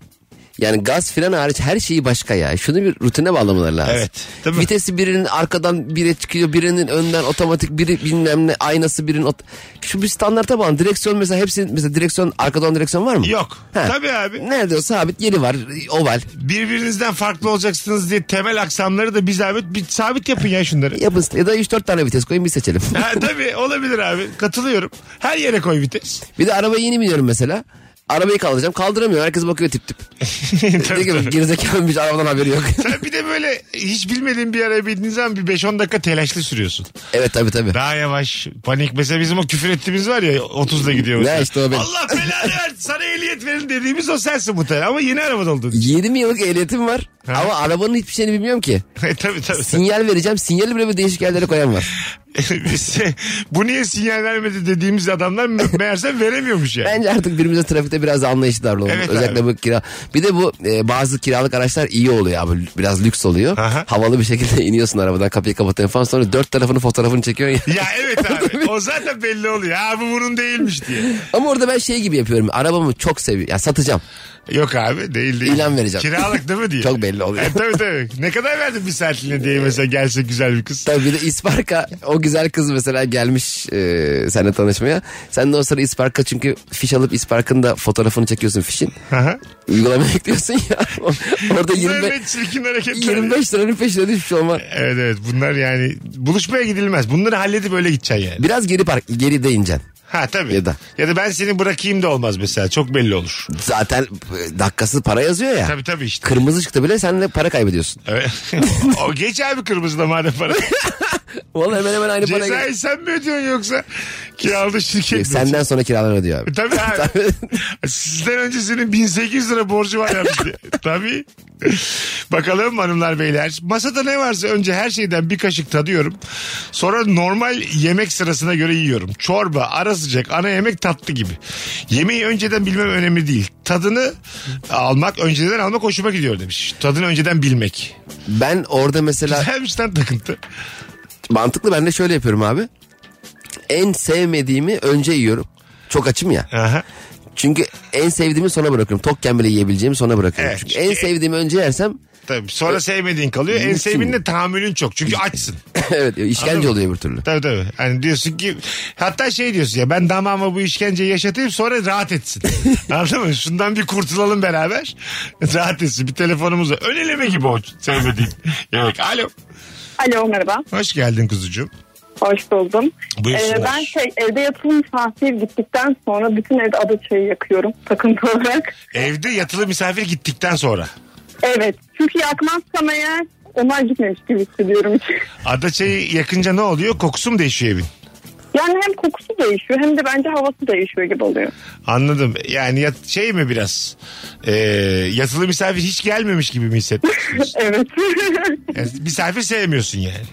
yani gaz fren hariç her şeyi başka ya. Şunu bir rutine bağlamaları lazım. Evet, değil mi? Vitesi birinin arkadan bire çıkıyor. Birinin önden otomatik biri bilmem ne aynası birinin. ot- Şu bir standarta bağlı. Direksiyon mesela hepsinin mesela direksiyon arkadan direksiyon var mı? Yok. Ha. Tabii abi. Nerede o sabit yeri var. Oval. Birbirinizden farklı olacaksınız diye temel aksamları da bir zahmet bir sabit yapın ya şunları. Yapın ya da 3-4 tane vites koyun bir seçelim. ha, tabii olabilir abi. Katılıyorum. Her yere koy vites. bir de arabaya yeni biniyorum mesela. Arabayı kaldıracağım. Kaldıramıyorum. Herkes bakıyor tip tip. Tabii, Diyor tabii. ki gerizekalıymış arabadan haberi yok. Sen bir de böyle hiç bilmediğin bir araya bindiğin zaman bir 5-10 dakika telaşlı sürüyorsun. evet tabii tabii. Daha yavaş panik. Mesela bizim o küfür ettiğimiz var ya 30'da gidiyor. Ne mesela. işte o benim. Allah belanı ver sana ehliyet verin dediğimiz o sensin muhtemelen ama yeni arabada oldun. 20 yıllık ehliyetim var ama arabanın hiçbir şeyini bilmiyorum ki. E, tabii tabii. Sinyal vereceğim. Sinyali bile bir değişik yerlere koyan var. Biz- bu niye sinyal vermedi dediğimiz adamlar me- meğerse veremiyormuş yani. Bence artık birbirimize trafikte biraz da anlayışlı davranalım. Evet Özellikle abi. bu kira. Bir de bu e, bazı kiralık araçlar iyi oluyor abi. Biraz lüks oluyor. Aha. Havalı bir şekilde iniyorsun arabadan kapıyı kapatıyorsun falan. Sonra dört tarafını fotoğrafını çekiyorsun. ya. Ya evet abi o zaten belli oluyor. Ha bu bunun değilmiş diye. Ama orada ben şey gibi yapıyorum. Arabamı çok seviyorum. Ya satacağım. Yok abi değil değil. İlan vereceğim. Kiralık değil mi diye. Çok belli oluyor. E, tabii tabii. Ne kadar verdin bir saatliğine diye mesela gelse güzel bir kız. Tabii bir de İsparka o güzel kız mesela gelmiş e, seninle tanışmaya. Sen de o sırada İsparka çünkü fiş alıp İspark'ın da fotoğrafını çekiyorsun fişin. Aha. Uygulamaya ekliyorsun ya. Orada Bunların 20, ne çirkin hareketleri. 25 liranın peşine düşmüş olma. Evet evet bunlar yani buluşmaya gidilmez. Bunları halledip öyle gideceksin yani. Biraz geri park, geri de ineceksin. Ha tabii. Ya da- ya da ben seni bırakayım da olmaz mesela. Çok belli olur. Zaten e, dakikası para yazıyor ya. Tabii tabii işte. Kırmızı ışıkta bile sen de para kaybediyorsun. Evet. o geç abi kırmızıda madem para. Vallahi hemen hemen aynı para. Cezayı sen mi ödüyorsun yoksa kiralı şirket mi? E, Senden sonra kiralar ödüyor abi. Tabii abi. Sizden öncesinin 1800 lira borcu var ya bizde. Tabii. Bakalım hanımlar beyler. Masada ne varsa önce her şeyden bir kaşık tadıyorum. Sonra normal yemek sırasına göre yiyorum. Çorba, ara sıcak, ana yemek tatlı gibi. Yemeği önceden bilmem önemli değil. Tadını almak, önceden almak hoşuma gidiyor demiş. Tadını önceden bilmek. Ben orada mesela Güzelmiş lan takıntı. mantıklı ben de şöyle yapıyorum abi. En sevmediğimi önce yiyorum. Çok açım ya. Aha. Çünkü en sevdiğimi sona bırakıyorum. Tokken bile yiyebileceğimi sona bırakıyorum. Evet. Çünkü en sevdiğimi önce yersem Tabii. Sonra sevmediğin kalıyor. En sevdiğinle tahammülün çok. Çünkü açsın. evet işkence Anladım. oluyor bir türlü. Tabii tabii. Hani diyorsun ki hatta şey diyorsun ya ben damağıma bu işkenceyi yaşatayım sonra rahat etsin. Anladın mı? Şundan bir kurtulalım beraber. Rahat etsin. Bir telefonumuz var. Ön eleme gibi o sevmediğin. yemek. Alo. Alo merhaba. Hoş geldin kuzucuğum. Hoş buldum. Buyursunlar. Ee, ben şey evde yapılan misafir gittikten sonra bütün evde ada çayı yakıyorum takıntı olarak. Evde yatılı misafir gittikten sonra. Evet çünkü yakmazsam eğer onlar gitmemiş gibi hissediyorum. Adaçayı yakınca ne oluyor? Kokusu mu değişiyor evin? yani hem kokusu değişiyor hem de bence havası değişiyor gibi oluyor. Anladım. Yani yat- şey mi biraz? Ee, yatılı misafir hiç gelmemiş gibi mi hissettin? Evet. Yani misafir sevmiyorsun yani.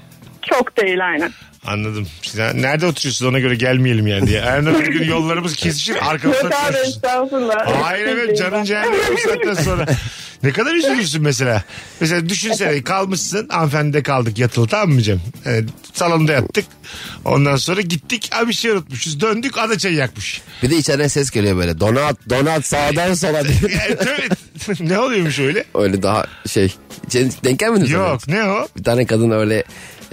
Çok değil aynen. Anladım. Siz nerede oturuyorsunuz ona göre gelmeyelim yani diye. Erden bir gün yollarımız kesişir arkamızda Yok abi tartışırız. estağfurullah. Hayır Çok evet değil canın ben. cehennemi bu saatten sonra. Ne kadar üzülürsün mesela. Mesela düşünsene kalmışsın hanımefendide kaldık yatılı tamam mı Cem? Ee, salonda yattık. Ondan sonra gittik abi bir şey unutmuşuz. Döndük adaçayı yakmış. Bir de içeriden ses geliyor böyle. Donat, donat sağdan sola diye. Yani tabii ne oluyormuş öyle? öyle daha şey. Sen Denk gelmedin mi sana? Yok ne o? Bir tane kadın öyle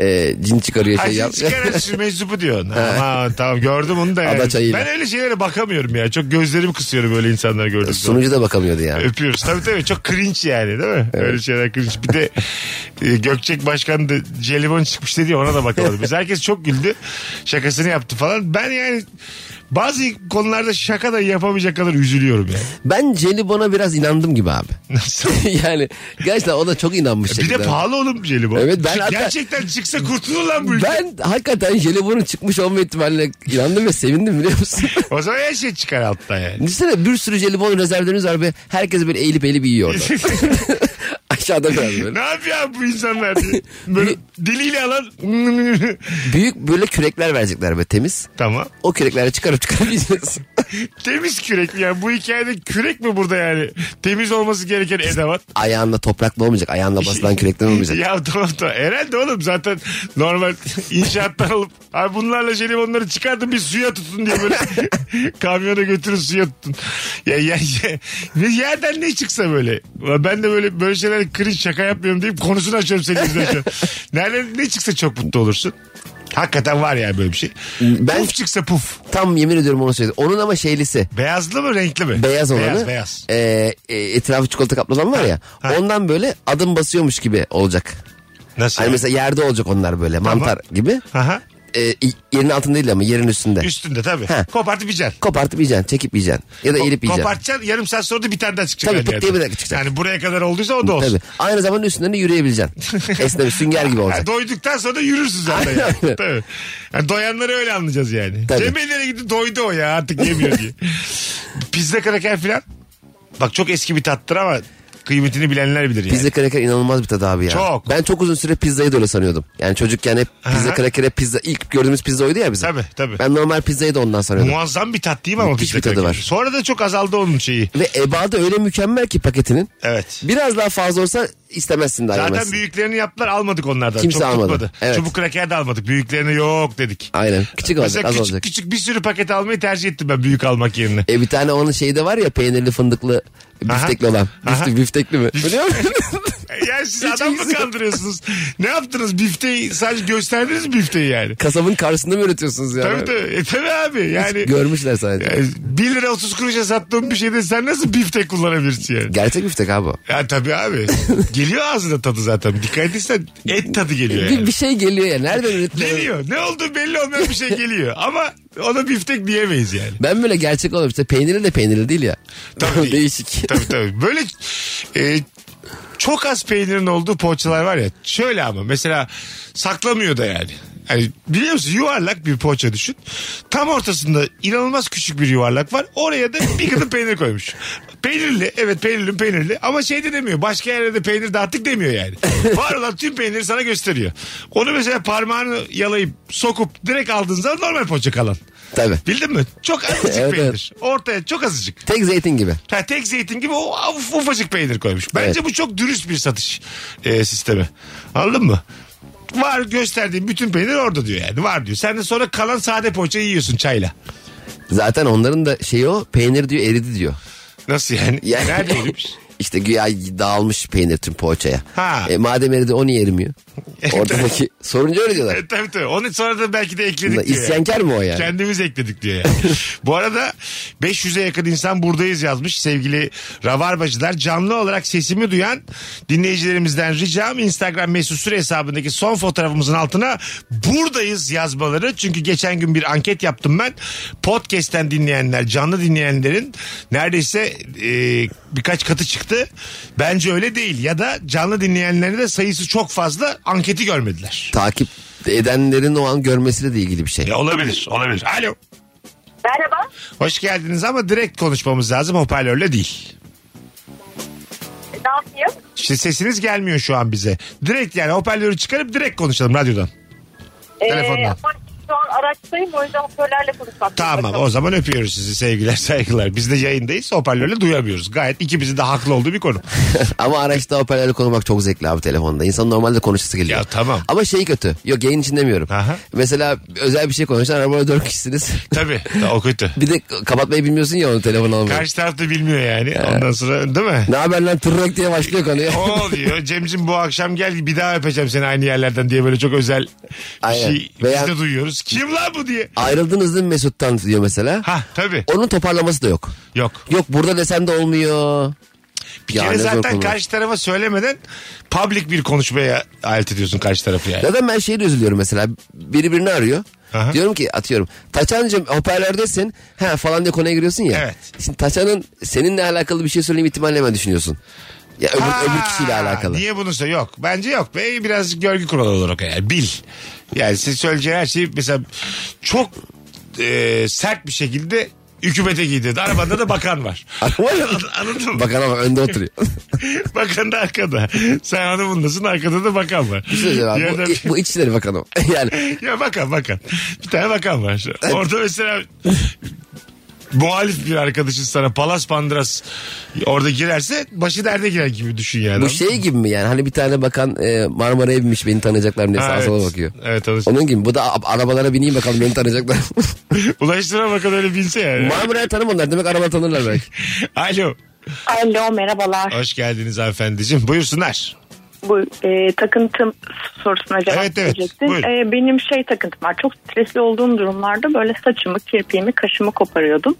e, cin çıkarıyor şey Ay yap. çıkarırsın meczubu diyorsun. Ama tamam gördüm onu da yani. Adaçayıyla. Ben öyle şeylere bakamıyorum ya. Çok gözlerimi kısıyorum öyle insanları gördüğüm zaman. Sunucu da bakamıyordu yani. Öpüyoruz. Tabii tabii çok cringe yani değil mi? Öyle şeyler cringe. Bir de e, Gökçek Başkan da jelibon çıkmış dedi ya ona da bakamadım. Biz herkes çok güldü. Şakasını yaptı falan. Ben yani bazı konularda şaka da yapamayacak kadar üzülüyorum yani. Ben Jelibon'a biraz inandım gibi abi. Nasıl? E, yani gerçekten o da çok inanmış bir de şekilde. pahalı oğlum jelibon. Evet, ben hatta- Gerçekten çıksa kurtulur lan bu ülke. Ben hakikaten Jelibon'un çıkmış olma ihtimaline inandım ve sevindim biliyor musun? O zaman her şey çıkar alttan yani. Düşünsene bir sürü jelibon rezervleriniz var ve herkes böyle eğilip eğilip yiyor orada. Aşağıda biraz böyle. ne yapıyor abi bu insanlar diye. Böyle diliyle alan. Büyük böyle kürekler verecekler böyle temiz. tamam. O kürekleri çıkarıp çıkarıp yiyeceksin. Temiz kürek yani bu hikayede kürek mi burada yani? Temiz olması gereken edevat. Ayağında topraklı olmayacak. Ayağında basılan kürekten olmayacak. Ya tamam tamam. Herhalde oğlum zaten normal inşaattan alıp abi bunlarla jelibonları çıkartın bir suya tutun diye böyle kamyona götürün suya tutun. Ya, ya, ya, Ne yerden ne çıksa böyle. Ulan Ben de böyle böyle şeyler cringe şaka yapmıyorum deyip konusunu açıyorum senin yüzünden şu an. Nereden ne çıksa çok mutlu olursun. Hakikaten var yani böyle bir şey. Ben- Puf çıksa puf. Tam yemin ediyorum onu söyledim. Onun ama şeylisi. Beyazlı mı renkli mi? Beyaz olanı. Beyaz beyaz. e, e, etrafı çikolata kaplanan var ya. Ha, ha. Ondan böyle adım basıyormuş gibi olacak. Nasıl? Hani yani? mesela yerde olacak onlar böyle mantar gibi. Aha. E, yerin altında değil ama yerin üstünde. Üstünde tabii. Ha. Kopartıp yiyeceksin. Kopartıp yiyeceksin, çekip yiyeceksin. Ya da Ko- eğilip yiyeceksin. Kopartacaksın yarım saat sonra da bir tane daha çıkacak. Tabii, her pıt yerden. diye bir dakika çıkacak. Yani buraya kadar olduysa o da olsun. Tabii. Aynı zamanda üstünden de yürüyebileceksin. Esneme sünger gibi Yani olacak. doyduktan sonra da yürürsün zaten. yani. Tabii. Yani doyanları öyle anlayacağız yani. Tabii. Cem Bey'lere gitti doydu o ya artık yemiyor diye. Pizza kraker filan. Bak çok eski bir tattır ama Kıymetini bilenler bilir yani. Pizza kraker inanılmaz bir tadı abi ya. Çok. Ben çok uzun süre pizzayı da öyle sanıyordum. Yani çocukken hep pizza Aha. kraker hep pizza ilk gördüğümüz pizza oydu ya bizim. Tabii, tabii. Ben normal pizzayı da ondan sanıyordum. Muazzam bir tat değil mi ama Müthiş pizza bir tadı kraker? var. Sonra da çok azaldı onun şeyi. Ve ebadı öyle mükemmel ki paketinin. Evet. Biraz daha fazla olsa istemezsin daha Zaten yemezsin. büyüklerini yaptılar almadık onlardan. Kimse Çok almadı. tutmadı. Evet. Çubuk kraker de almadık. Büyüklerini yok dedik. Aynen. Küçük olacak Mesela az küçük olacak. küçük bir sürü paket almayı tercih ettim ben büyük almak yerine. E bir tane onun şeyi de var ya peynirli fındıklı biftekli olan. Bifte, biftekli mi? Biliyor musun? Yani siz adam mı kandırıyorsunuz? ne yaptınız? Bifteyi sadece gösterdiniz mi bifteyi yani? Kasabın karşısında mı üretiyorsunuz yani? Tabii tabii. E, tabii abi yani. Görmüşler sadece. yani 1 lira 30 kuruşa sattığın bir şeyde sen nasıl biftek kullanabilirsin yani? Gerçek biftek abi o. Ya tabii abi. Geliyor ağzına tadı zaten. Dikkat etsen et tadı geliyor yani. Bir, bir şey geliyor ya. Nereden üretiliyor? Geliyor. Ne olduğu belli olmayan bir şey geliyor. Ama ona biftek diyemeyiz yani. Ben böyle gerçek olamam. İşte peynirli de peynirli değil ya. Tabii değil. Değişik. Tabii tabii. Böyle e, çok az peynirin olduğu poğaçalar var ya. Şöyle ama mesela saklamıyor da yani. Yani biliyor musun yuvarlak bir poğaça düşün. Tam ortasında inanılmaz küçük bir yuvarlak var. Oraya da bir kadın peynir koymuş. Peynirli evet peynirli peynirli ama şey de demiyor. Başka yerlerde peynir dağıttık demiyor yani. var olan tüm peyniri sana gösteriyor. Onu mesela parmağını yalayıp sokup direkt aldığın zaman normal poğaça kalan. Tabii. Bildin mi? Çok azıcık Evet, evet. peynir. Ortaya çok azıcık. Tek zeytin gibi. Ha, tek zeytin gibi o uf- ufacık peynir koymuş. Bence Evet. bu çok dürüst bir satış e, sistemi. Anladın mı? Var gösterdiğim bütün peynir orada diyor yani. Var diyor. Sen de sonra kalan sade poğaçayı yiyorsun çayla. Zaten onların da şeyi o peynir diyor eridi diyor. Nasıl yani? Yani- Nerede erimiş? İşte güya dağılmış peynir tüm poğaçaya. Ha. E, madem eridi o niye erimiyor? Ortadaki sorunca öyle diyorlar. E, tabii tabii. Onun sonra da belki de ekledik Bunlar diyor. yani. İsyankar mı o yani? Kendimiz ekledik diyor yani. Bu arada 500'e yakın insan buradayız yazmış sevgili Rabarbacılar. Canlı olarak sesimi duyan dinleyicilerimizden ricam Instagram mesut süre hesabındaki son fotoğrafımızın altına buradayız yazmaları. Çünkü geçen gün bir anket yaptım ben. Podcast'ten dinleyenler, canlı dinleyenlerin neredeyse e, birkaç katı çıktı. Bence öyle değil. Ya da canlı dinleyenlerin de sayısı çok fazla anketi görmediler. Takip edenlerin o an görmesiyle de ilgili bir şey. Ya E, olabilir, olabilir. Alo. Merhaba. Hoş geldiniz ama direkt konuşmamız lazım hoparlörle değil. Ne yapayım? İşte sesiniz gelmiyor şu an bize. Direkt yani hoparlörü çıkarıp direkt konuşalım radyodan. Ee, Telefondan. ama şu an araçtayım o yüzden hoparlörle konuşmak. Tamam o zaman öpüyoruz sizi sevgiler saygılar. Biz de yayındayız hoparlörle duyamıyoruz. Gayet ikimizin de haklı olduğu bir konu. Ama araçta hoparlörle konuşmak çok zevkli abi telefonda. İnsan normalde konuşası geliyor. Ya tamam. Ama şey kötü. Yok yayın için demiyorum. Aha. Mesela özel bir şey konuşan arabada dört kişisiniz. Tabii ta- o kötü. bir de kapatmayı bilmiyorsun ya onu telefon almayı. Karşı taraf da bilmiyor yani. Ondan sonra değil mi? Ne haber lan tırnak diye başlıyor konuya. O diyor Cemcim bu akşam gel bir daha öpeceğim seni aynı yerlerden diye böyle çok özel bir Aynen. şey Veya- biz de duyuyoruz. Kim lan bu diye. Ayrıldınız değil mi Mesut'tan diyor mesela. Ha tabii Onun toparlaması da yok. yok. Yok burada desem de olmuyor. Bir Ya kere ne zor zaten konu. karşı tarafa söylemeden public bir konuşmaya alet ediyorsun karşı tarafı yani. Zaten ben şeyi de üzülüyorum mesela. Biri birini arıyor. Aha. Diyorum ki atıyorum. Taçancığım hoparlördesin. Ha falan diye konuya giriyorsun ya. Evet. Şimdi Taçan'ın seninle alakalı bir şey söyleyeyim ihtimalle hemen düşünüyorsun. Ya öbür, Ha, öbür kişiyle alakalı. Niye bunu söyle? Yok. Bence yok. Ve birazcık görgü kuralı olarak yani. Bil. Yani siz söyleyeceğin her şeyi mesela çok e, sert bir şekilde hükümete giydirdi. Arabanda da bakan var. An- Anladın mı? Bakan ama önde oturuyor. bakan da arkada. Sen hanımındasın arkada da bakan var. Bir şey söyleyeceğim abi, Yerden- bu, bu İçişleri Bakanı. o. yani Ya bakan bakan. Bir tane bakan var. Orada mesela muhalif bir arkadaşın sana palas pandıras orada girerse başı derde girer gibi düşün yani. bu şey gibi mi yani hani bir tane bakan e, Marmara'ya binmiş beni tanıyacaklar mı diye Ha, sağa evet. sola bakıyor. Evet, alıştı. Onun gibi bu da a- arabalara bineyim bakalım beni tanıyacaklar. Ulaştıra bakan öyle bilse yani. Marmara'ya tanımadılar demek araba tanırlar belki. Alo. Alo merhabalar. Hoş geldiniz hanımefendiciğim. Buyursunlar. Bu e, takıntım sorusuna cevap Evet, evet. verecektim. Buyurun. E, benim şey takıntım var. Çok stresli olduğum durumlarda böyle saçımı, kirpiğimi, kaşımı koparıyordum.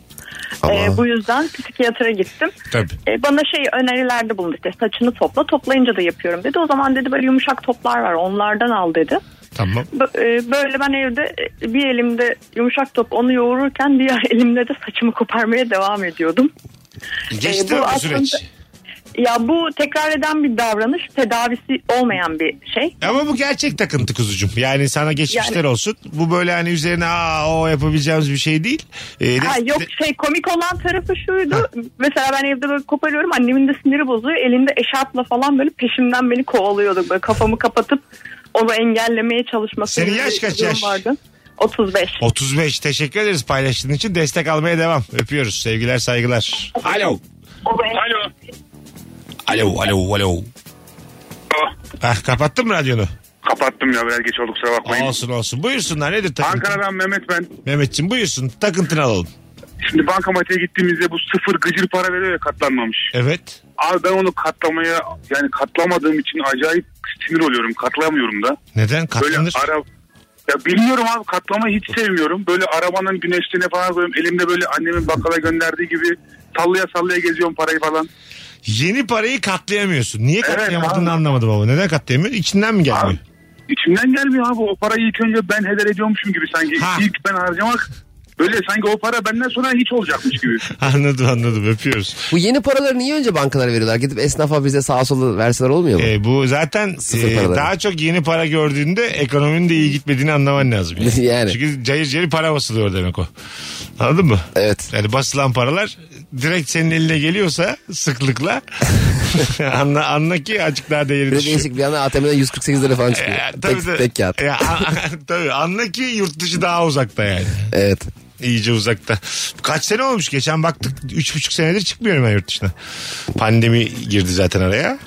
E, bu yüzden psikiyatra gittim. Tabii. E, bana şey önerilerde bulundu işte saçını topla toplayınca da yapıyorum dedi. O zaman dedi böyle yumuşak toplar var onlardan al dedi. Tamam. Bö- e, Böyle ben evde e, bir elimde yumuşak top onu yoğururken diğer elimle de saçımı koparmaya devam ediyordum. Geçti bu mi bu aslında- süreç? Ya bu tekrar eden bir davranış, tedavisi olmayan bir şey. Ama bu gerçek takıntı kuzucum. Yani sana geçmişler olsun. Bu böyle hani üzerine aa o yapabileceğimiz bir şey değil. Ee, de- Ha, yok de- şey komik olan tarafı şuydu. Mesela ben evde böyle koparıyorum annemin de siniri bozuyor. Elinde eşarpla falan böyle peşimden beni kovalıyordu. Böyle kafamı kapatıp onu engellemeye çalışması. Senin gibi yaş bir kaç durum yaş? vardı. 35. 35 teşekkür ederiz paylaştığın için destek almaya devam. Öpüyoruz sevgiler saygılar. Alo. Alo. Alo alo alo. Hah, kapattın mı radyonu? Kapattım ya biraz geç oldu kusura bakmayın. Olsun olsun. Buyursunlar nedir takıntı? Ankara'dan Mehmet ben. Mehmetciğim buyursun takıntını alalım. Şimdi bankamatiğe gittiğimizde bu sıfır gıcır para veriyor ya katlanmamış. Evet. Abi ben onu katlamaya yani katlamadığım için acayip sinir oluyorum. Katlayamıyorum da. Neden katlanır? Böyle ara... Ya bilmiyorum abi katlamayı hiç sevmiyorum. Böyle arabanın güneşliğine falan koyuyorum. Elimde böyle annemin bakkala gönderdiği gibi sallaya sallaya geziyorum parayı falan. Yeni parayı katlayamıyorsun. Niye Evet, katlayamadığını abi. anlamadım ama. Neden katlayamıyorsun? İçinden mi gelmiyor? İçimden gelmiyor abi o parayı ilk önce ben heder ediyormuşum gibi sanki. İlk ben harcamak böyle sanki o para benden sonra hiç olacakmış gibi. Anladım anladım öpüyoruz. Bu yeni paraları niye önce bankalara veriyorlar? Gidip esnafa bize sağa sola verseler olmuyor mu? E, bu zaten Sıfır e, paraları. daha çok yeni para gördüğünde ekonominin de iyi gitmediğini anlaman lazım. Yani. Yani. Çünkü cayır cayır para basılıyor demek o. Anladın mı? Evet. Yani basılan paralar direkt senin eline geliyorsa sıklıkla anla, anla ki azıcık daha değeri Bir de düşüyor. değişik bir anda ATM'den 148 lira falan çıkıyor. E, tabii tek, de- tek kağıt. Ya, a- a- tabii anla ki yurt dışı daha uzakta yani. Evet. İyice uzakta. Kaç sene olmuş geçen baktık. Üç buçuk senedir çıkmıyorum ben yurt dışına. Pandemi girdi zaten araya.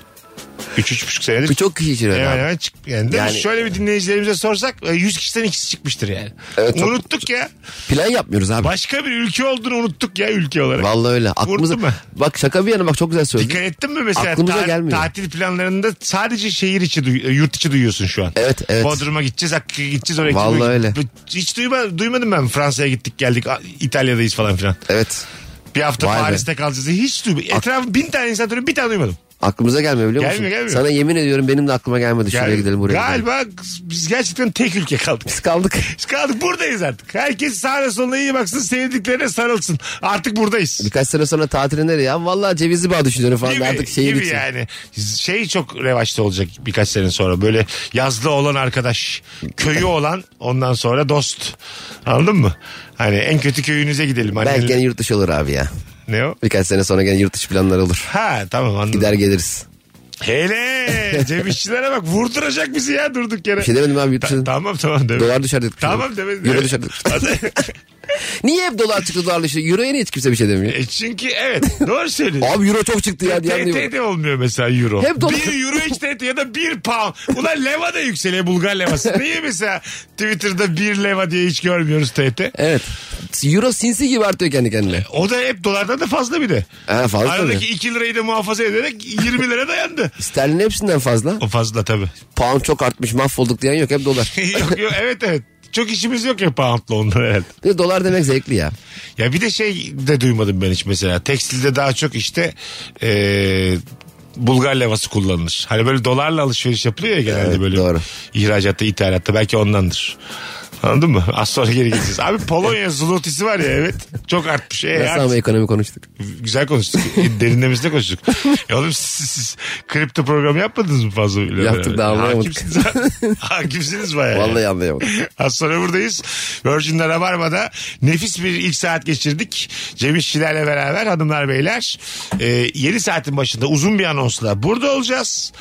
Üç, üç buçuk senedir. Bu çok kişi için öyle Hemen abi. hemen çık. Yani, değil mi? Yani- Şöyle bir dinleyicilerimize sorsak e, 100 kişiden ikisi çıkmıştır yani. Evet, çok- Unuttuk ya. Plan yapmıyoruz abi. Başka bir ülke olduğunu unuttuk ya ülke olarak. Vallahi öyle. Aklımıza... Unuttun mu? Bak şaka bir yana bak çok güzel söyledin. Dikkat ettin mi mesela? Aklımıza gelmiyor. Tatil planlarında sadece şehir içi, duy- e, yurt içi duyuyorsun şu an. Evet evet. Bodrum'a gideceğiz, Akka'ya gideceğiz, oraya Vallahi gideceğiz. öyle. Hiç duyma, duymadım ben Fransa'ya gittik geldik, A- İtalya'dayız falan filan. Evet. Bir hafta Vay be. Paris'te kalacağız. Hiç duymadım. Etrafı bin tane insan tanıyorum, bir tane duymadım. Aklımıza gelmiyor biliyor musun? Gelmiyor, gelmiyor. Sana yemin ediyorum benim de aklıma gelmedi. Şuraya Gel- gidelim buraya gidelim. Galiba biz gerçekten tek ülke kaldık. Biz kaldık. Biz kaldık buradayız artık. Herkes sağına soluna iyi baksın, sevdiklerine sarılsın. Artık buradayız. Birkaç sene sonra tatile nereye? Ya Vallahi cevizi bağ düşünüyorum falan. Gibi, Artık şehir gibi için. yani. Şey çok revaçta olacak birkaç sene sonra. Böyle yazlı olan arkadaş, köyü olan ondan sonra dost. Anladın mı? Hani en kötü köyünüze gidelim. Hani Annenin- Belki gene yurt dışı olur abi ya. Ne o? Birkaç sene sonra gene yurt dışı planları olur. Ha tamam anladım. Gider geliriz. Hele Cem İşçilere bak vurduracak bizi ya durduk yere. Bir şey demedim abi yurt Ta- dışı. tamam tamam demedim. Dolar düşer dedik. Tamam demedim. Euro Evet. düşer dedik. Niye hep dolar çıktı dolar düştü? Euro'ya niye hiç kimse bir şey demiyor? E, Çünkü evet doğru söylüyorsun. Abi euro çok çıktı ya diye anlıyor. TT de olmuyor mesela euro. Hep dolar- bir euro hiç TT ya da bir pound. Ulan leva da yükseliyor Bulgar levası. Niye mesela Twitter'da bir leva diye hiç görmüyoruz TT? Evet. Euro sinsi gibi artıyor kendi kendine. O da hep dolardan da fazla bir de. Ha, fazla Aradaki tabii. 2 lirayı da muhafaza ederek 20 lira dayandı. Sterlin hepsinden fazla. O fazla tabii. Pound çok artmış mahvolduk diyen yok hep dolar. yok, yok, evet evet. Çok işimiz yok ya poundla ondan herhalde. Bir de dolar demek zevkli ya. Ya bir de şey de duymadım ben hiç mesela. Tekstilde daha çok işte eee, Bulgar levası kullanılır. Hani böyle dolarla alışveriş yapılıyor ya genelde Evet, böyle. doğru. İhracatta, ithalatta belki ondandır. Anladın mı? Az sonra geri geleceğiz. Abi Polonya zlotisi var ya evet. Çok artmış. E, Nasıl art- ama ekonomi konuştuk. Güzel konuştuk. E, Derinlemesine konuştuk. ya oğlum siz, siz kripto programı yapmadınız mı fazla? Yaptık, daha anlayamadık. Hakimsiniz, hakimsiniz bayağı. Vallahi anlayamadım. Az sonra buradayız. Virgin'de Rabarba'da nefis bir ilk saat geçirdik. Cem İşçilerle beraber hanımlar beyler. Ee, yeni saatin başında uzun bir anonsla burada olacağız.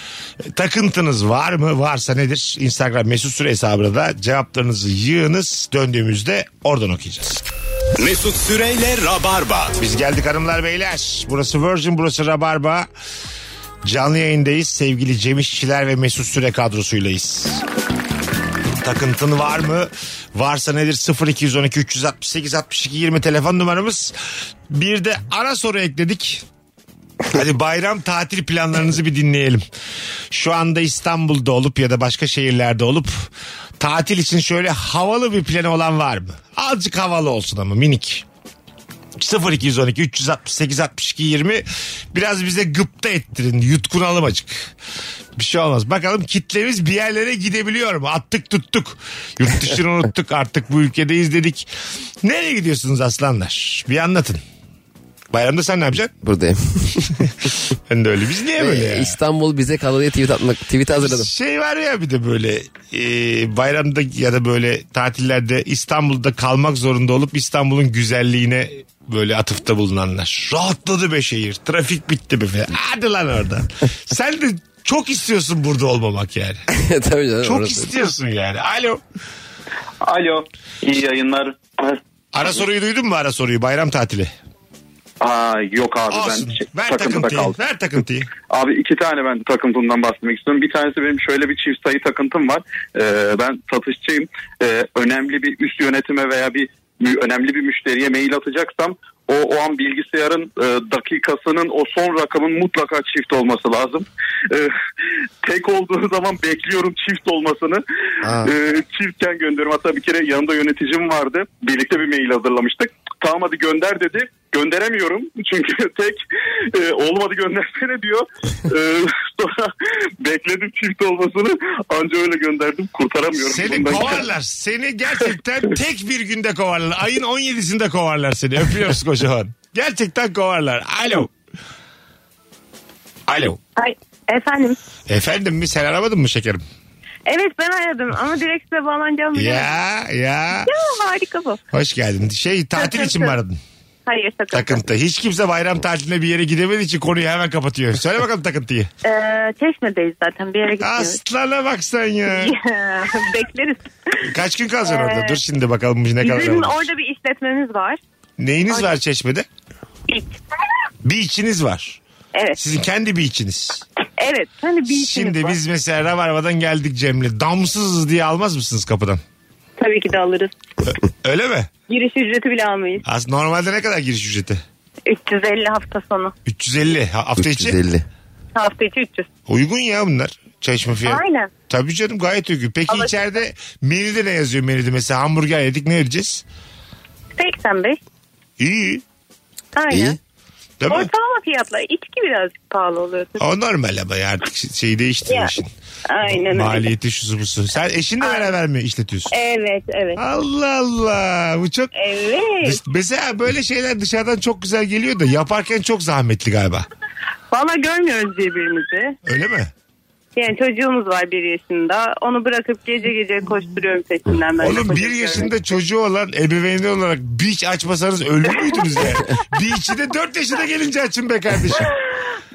Ee, Takıntınız var mı? Varsa nedir? Instagram mesut süre hesabına da cevaplarınızı yığınız. Döndüğümüzde oradan okuyacağız. Mesut Süreyle Rabarba. Biz geldik hanımlar beyler. Burası Virgin, burası Rabarba. Canlı yayındayız. Sevgili Cem İşçiler ve Mesut Süre kadrosuylayız. Takıntın var mı? Varsa nedir? 0212 368 62 20 telefon numaramız. Bir de ara soru ekledik. Hadi bayram tatil planlarınızı bir dinleyelim. Şu anda İstanbul'da olup ya da başka şehirlerde olup tatil için şöyle havalı bir planı olan var mı? Azıcık havalı olsun ama minik. 0212 368 62 20 biraz bize gıpta ettirin yutkunalım acık. Bir şey olmaz. Bakalım kitlemiz bir yerlere gidebiliyor mu? Attık tuttuk. Yurt dışını unuttuk artık bu ülkedeyiz dedik. Nereye gidiyorsunuz aslanlar? Bir anlatın. Bayramda sen ne yapacaksın? Buradayım. ben de öyle. Biz niye Ve böyle ya? İstanbul bize kaldı diye tweet, atmak, tweet hazırladım. Şey var ya bir de böyle e, bayramda ya da böyle tatillerde İstanbul'da kalmak zorunda olup İstanbul'un güzelliğine böyle atıfta bulunanlar. Rahatladı be şehir. Trafik bitti be falan. Hadi lan oradan. Sen de çok istiyorsun burada olmamak yani. Tabii canım. Çok orası. istiyorsun yani. Alo. Alo. İyi yayınlar. Ara soruyu duydun mu ara soruyu? Bayram tatili. Aa, yok abi Olsun. ben şey- Ver takıntıda takıntıyı. kaldım. Ver takıntıyı. Abi iki tane ben takıntımdan bahsetmek istiyorum. Bir tanesi benim şöyle bir çift sayı takıntım var. Ee, ben satışçıyım. Ee, önemli bir üst yönetime veya bir mü- önemli bir müşteriye mail atacaksam o, o an bilgisayarın e, dakikasının o son rakamın mutlaka çift olması lazım. Ee, tek olduğu zaman bekliyorum çift olmasını. Aa. Ee, çiftken gönderiyorum. Hatta bir kere yanında yöneticim vardı. Birlikte bir mail hazırlamıştık. Tamam hadi gönder dedi. Gönderemiyorum çünkü tek e, olmadı göndersene diyor. Ee, sonra bekledim çift olmasını anca öyle gönderdim. Kurtaramıyorum. Seni Bundan- kovarlar. Seni gerçekten tek bir günde kovarlar. Ayın 17'sinde kovarlar seni. Öpüyoruz kocaman. Gerçekten kovarlar. Alo. Alo. Ay, efendim. Efendim mi sen aramadın mı şekerim? Evet ben aradım ama direkt size bağlanacağımı Ya ya. Ya harika bu. Hoş geldin. Şey tatil için mi aradın? Hayır sakın. Takıntı. Hiç kimse bayram tatiline bir yere gidemediği için konuyu hemen kapatıyor. Söyle bakalım takıntıyı. Ee, çeşmedeyiz zaten bir yere gitmiyoruz. Aslana bak sen ya. Bekleriz. Kaç gün kalacaksın orada? Ee, Dur şimdi bakalım ne kadar. Bizim olmuş. orada bir işletmemiz var. Neyiniz var çeşmede? Beach. Bir içiniz var. Evet. Sizin kendi bir içiniz. Evet. Hani bir işimiz Şimdi var. biz mesela Rabarba'dan geldik Cem'le. Damsızız diye almaz mısınız kapıdan? Tabii ki de alırız. Öyle mi? Giriş ücreti bile almayız. As normalde ne kadar giriş ücreti? 350 hafta sonu. 350 ha- hafta içi. 350. Hafta içi 300. Uygun ya bunlar. Çeşme fiyatı. Aynen. Tabii canım gayet uygun. Peki Alışık. içeride menüde ne yazıyor menüde? Mesela hamburger yedik ne vereceğiz? 85. İyi. Aynen. Değil mi? Ortalama fiyatlar. İçki birazcık pahalı oluyor. O normal ama ya artık şey değişti Ya, işin. Aynen öyle. Maliyeti şusu busu. Sen eşinle beraber mi işletiyorsun? Evet evet. Allah Allah. Bu çok... Evet. Dış- Mesela böyle şeyler dışarıdan çok güzel geliyor da yaparken çok zahmetli galiba. Valla görmüyoruz birbirimizi. Öyle mi? Yani çocuğumuz var bir yaşında. Onu bırakıp gece gece koşturuyorum peşinden. Ben Oğlum bir yaşında çocuğu olan ebeveyni olarak beach açmasanız ölür müydünüz yani? Beach'i de 4 yaşında gelince açın be kardeşim.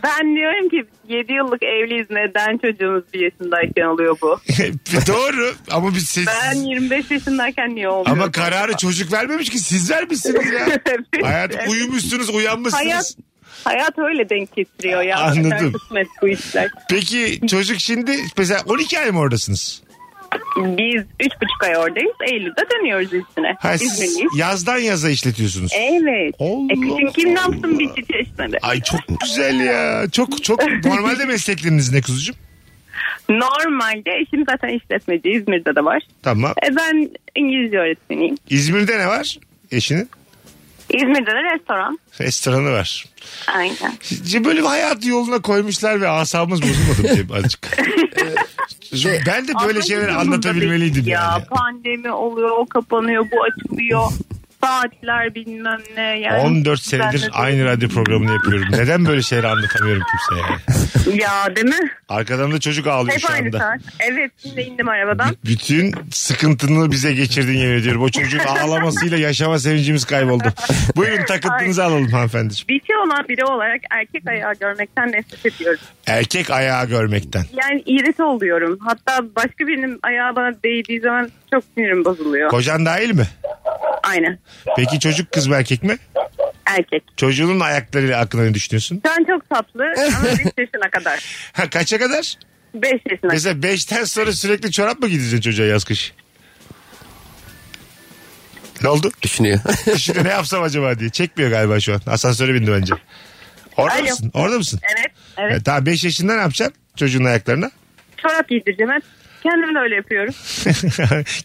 Ben diyorum ki 7 yıllık evliyiz neden çocuğumuz bir yaşındayken oluyor bu? Doğru ama biz siz... Ben 25 yaşındayken niye olmuyor? Ama kararı çocuk vermemiş ki siz vermişsiniz ya. Evet. Hayat uyumuşsunuz uyanmışsınız. Hayat, hayat öyle denk getiriyor ya. Anladım. Kadar Kısmet bu işler. Peki çocuk şimdi mesela 12 ay mı oradasınız? Biz 3,5 ay oradayız. Eylül'de dönüyoruz üstüne. Ha, siz İzmirliyiz. yazdan yaza işletiyorsunuz. Evet. Allah e kışın kim ne Allah. yapsın bir şey çiçeği çeşmede? Ay çok güzel ya. Çok çok normalde meslekleriniz ne kuzucuğum? Normalde eşim zaten işletmeci. İzmir'de de var. Tamam. E ben İngilizce öğretmeniyim. İzmir'de ne var eşinin? İzmir'de de restoran. Restoranı var. Aynen. C- Böyle bir hayat yoluna koymuşlar ve asabımız bozulmadı mı Cem azıcık. Ee, ben de böyle Ama şeyler hiç anlatabilmeliydim umurumda değil yani. Pandemi oluyor, o kapanıyor, bu açılıyor. Saatler bilmem ne. Yani 14 senedir düzenledim. aynı radyo programını yapıyorum. Neden böyle şeyleri anlatamıyorum kimseye? yani? Ya değil mi? Arkadan da çocuk ağlıyor Hep şu aynı anda. saat. Evet şimdi indim arabadan. B- Bütün sıkıntını bize geçirdin yemin ediyorum. O çocuğun ağlamasıyla yaşama sevincimiz kayboldu. Buyurun takıntınızı alalım hanımefendiciğim. Bir şey olan biri olarak erkek ayağı görmekten nefret ediyorum. Erkek ayağı görmekten. Yani iğreti oluyorum. Hatta başka birinin ayağı bana değdiği zaman çok sinirim bozuluyor. Kocan dahil mi? Aynen. Peki çocuk kız mı erkek mi? Erkek. Çocuğunun ayaklarıyla hakkında ne düşünüyorsun? Şu an çok tatlı ama 5 yaşına kadar. Ha, kaça kadar? 5 yaşına kadar. Mesela 5'ten sonra sürekli çorap mı giydireceksin çocuğa yaz kış? Ne oldu? Düşünüyor. Şimdi ne yapsam acaba diye. Çekmiyor galiba şu an. Asansöre bindi bence. Orada Alo. mısın? Orada mısın? Evet. Evet. E, tamam 5 yaşında ne yapacaksın çocuğun ayaklarına? Çorap giydireceğim. Ben kendim de öyle yapıyorum.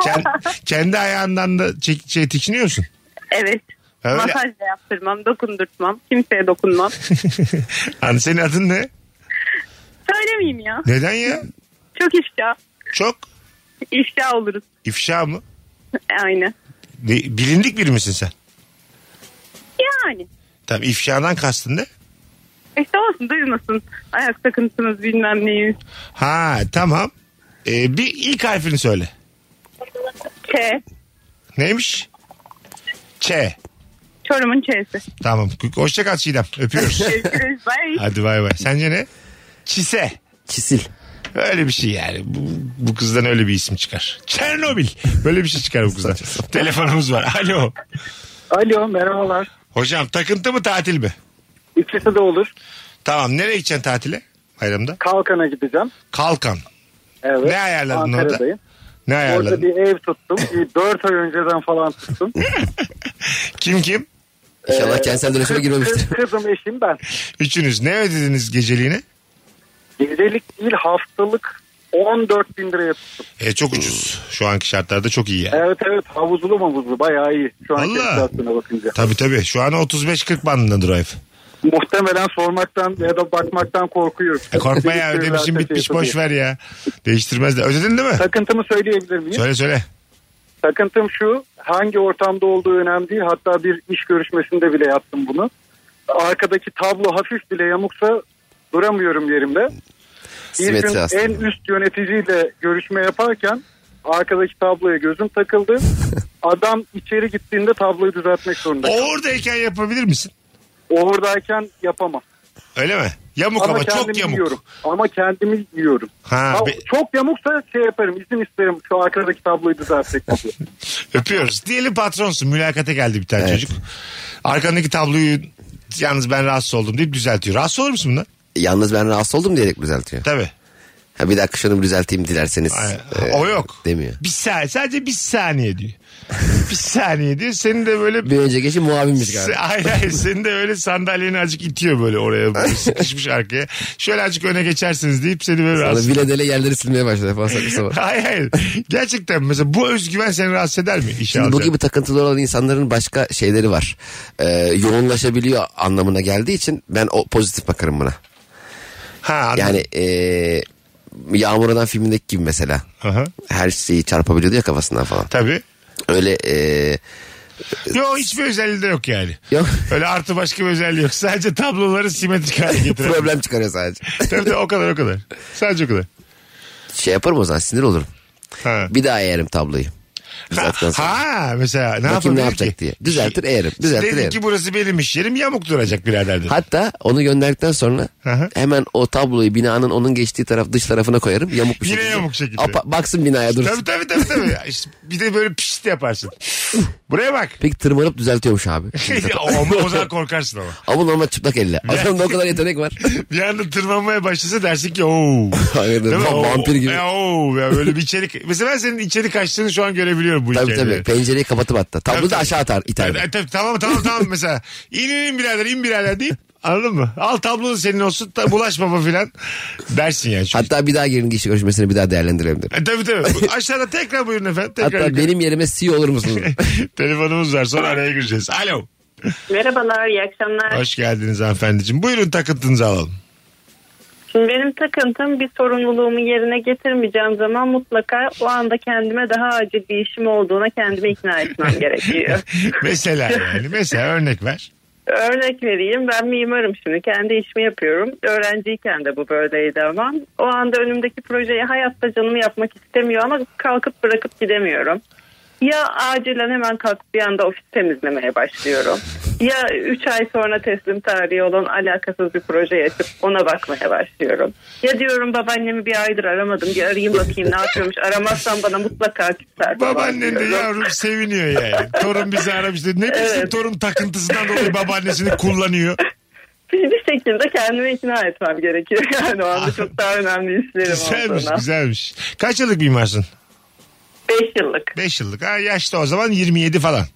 Kend- kendi ayağından da çek, şey, tiksiniyor musun? Evet. Öyle. Masaj da yaptırmam, dokundurtmam, kimseye dokunmam. Hani senin adın ne? Söylemeyeyim ya. Neden ya? Çok ifşa. Çok İfşa oluruz. ifşa mı? Aynı. Ne- bilindik biri misin sen? Yani. Tamam ifşadan kastın ne? İşte E, olsun duymasın. Ayak takıntınız bilmem neyi. Ha tamam. Ee, bir ilk harfini söyle. Ç. Neymiş? Ç. Çorum'un Ç'si. Tamam. Hoşça kal Çiğdem. Öpüyoruz. Görüşürüz. Bye. Hadi bay bay. Sence ne? Çise. Çisil. Öyle bir şey yani. Bu, bu kızdan öyle bir isim çıkar. Çernobil. Böyle bir şey çıkar bu kızdan. Telefonumuz var. Alo. Alo merhabalar. Hocam takıntı mı tatil mi? İkisi de olur. Tamam. Nereye gideceksin tatile? Bayramda. Kalkan'a gideceğim. Kalkan. Evet. Ne ayarladın orada? Ankara'dayım. Ne Orada ayarladın? bir ev tuttum. Bir 4 ay önceden falan tuttum. Kim kim? Ee, kız- Kız, kızım eşim ben. Üçünüz ne ödediniz geceliğini? Gecelik değil haftalık 14 bin liraya tuttum. E, çok ucuz. Şu anki şartlarda çok iyi yani. Evet evet havuzlu mavuzlu bayağı iyi. Şu anki Vallahi. enflasyona bakınca. Tabii tabii. Şu an 35-40 bandındadır o ev. Muhtemelen sormaktan ya da bakmaktan korkuyorum. E, korkma ya ödemişim bitmiş boş ver ya. Değiştirmez de. Ödedin değil mi? şey Takıntımı söyleyebilir miyim? Söyle söyle. Takıntım şu hangi ortamda olduğu önemli değil. Hatta bir iş görüşmesinde bile yaptım bunu. Arkadaki tablo hafif bile yamuksa duramıyorum yerimde. Bir Simetri gün aslında. en üst yöneticiyle görüşme yaparken arkadaki tabloya gözüm takıldı. Adam içeri gittiğinde tabloyu düzeltmek zorunda. kaldı. Oradayken yapabilir misin? Oradayken yapamam. Öyle mi? Yamuk ama, çok kendimi yamuk. Yiyorum. Ama kendimi yiyorum. Ha, Ha, be- Çok yamuksa şey yaparım izin isterim şu arkadaki tabloyu düzeltmek diye. Öpüyoruz. Diyelim patronsun. Mülakata geldi bir tane çocuk. Arkandaki tabloyu yalnız ben rahatsız oldum deyip düzeltiyor. Rahatsız olur musun bundan? Yalnız ben rahatsız oldum diyerek düzeltiyor. Tabii. Ha bir dakika şunu bir düzelteyim dilerseniz. Ee, Aynen. O yok. Demiyor. Bir saniye. Sadece bir saniye diyor. bir saniye diyor. Seni de böyle... Bir önceki işi muavimmiş galiba. Hayır hayır seni de öyle sandalyeni azıcık itiyor böyle oraya böyle sıkışmış arkaya. Şöyle azıcık öne geçersiniz deyip seni böyle Sonra rahatsız bile dele yerleri silmeye başladı falan saçma sapan. Hayır hayır. Gerçekten mesela bu özgüven seni rahatsız eder mi? İşe Şimdi bu alacağın? gibi takıntılı olan insanların başka şeyleri var. Ee, yoğunlaşabiliyor anlamına geldiği için ben o pozitif bakarım buna. yani ee, Yağmur Adam filmindeki gibi mesela. Her şeyi çarpabiliyordu ya kafasından falan. Tabii. Öyle ee, Yok hiçbir özelliği de yok yani. Yok. Öyle artı başka bir özelliği yok. Sadece tabloları simetrik hale getiren. problem çıkarıyor sadece. tabii tabii o kadar o kadar. Sadece o kadar. şey yaparım o zaman sinir olurum. Bir daha yerim tabloyu. Düzelttikten sonra. Ha mesela ne Bakayım yapabilir ne yapacak ki? diye. Düzeltir eğerim. Düzeltir Dedi eğerim. ki burası benim iş yerim yamuk duracak birader dedi. Hatta onu gönderdikten sonra hemen o tabloyu binanın onun geçtiği taraf dış tarafına koyarım. Yamuk bir Yine şekilde. yamuk şekilde. Apa- baksın binaya dursun. Tabii tabii tabii. tabii. İşte bir de böyle pişt yaparsın. Buraya bak. Peki tırmanıp düzeltiyormuş abi. ama o zaman korkarsın ama. ama normal çıplak elle. Adamda o kadar yetenek var. Bir anda tırmanmaya başlasa dersin ki ooo. Hayır, Değil mi? va- Oo, vampir gibi. Ya, oo, ya böyle bir içerik. Mesela ben senin içeri kaçtığını şu an görebiliyorum bu tabii tabii. hikayede. Pencereyi kapatıp hatta. Tablo da aşağı atar iter. E, tabii, tamam tamam tamam mesela. İn in in birader in birader deyip anladın mı? Al tablonu senin olsun ta, bulaş baba filan dersin yani. Çünkü. Hatta bir daha gelin kişi görüşmesini bir daha değerlendirelim derim. E, tabii tabii. Aşağıda tekrar buyurun efendim. Tekrar Hatta yukarı. benim yerime CEO olur musunuz? Telefonumuz var sonra araya gireceğiz. Alo. Merhabalar, iyi akşamlar. Hoş geldiniz hanımefendiciğim. Buyurun takıntınızı alalım. Şimdi benim takıntım bir sorumluluğumu yerine getirmeyeceğim zaman mutlaka o anda kendime daha acil bir işim olduğuna kendimi ikna etmem gerekiyor. mesela yani mesela örnek ver. Örnek vereyim ben mimarım şimdi kendi işimi yapıyorum. Öğrenciyken de bu böyleydi ama o anda önümdeki projeyi hayatta canım yapmak istemiyor ama kalkıp bırakıp gidemiyorum. Ya acilen hemen kalkıp bir anda ofis temizlemeye başlıyorum. Ya 3 ay sonra teslim tarihi olan alakasız bir proje açıp ona bakmaya başlıyorum. Ya diyorum babaannemi bir aydır aramadım bir arayayım bakayım ne yapıyormuş aramazsam bana mutlaka küser. falan Babaannen de diyorum. yavrum seviniyor yani. Torun bizi aramış. dedi. Ne bilsin torun takıntısından dolayı babaannesini kullanıyor. Bir bir şekilde kendimi ikna etmem gerekiyor. Yani o anda çok daha önemli işlerim Güzelmiş olduğuna. güzelmiş. Kaç yıllık mimarsın? 5 yıllık. 5 yıllık. Ha, yaşta o zaman 27 falan.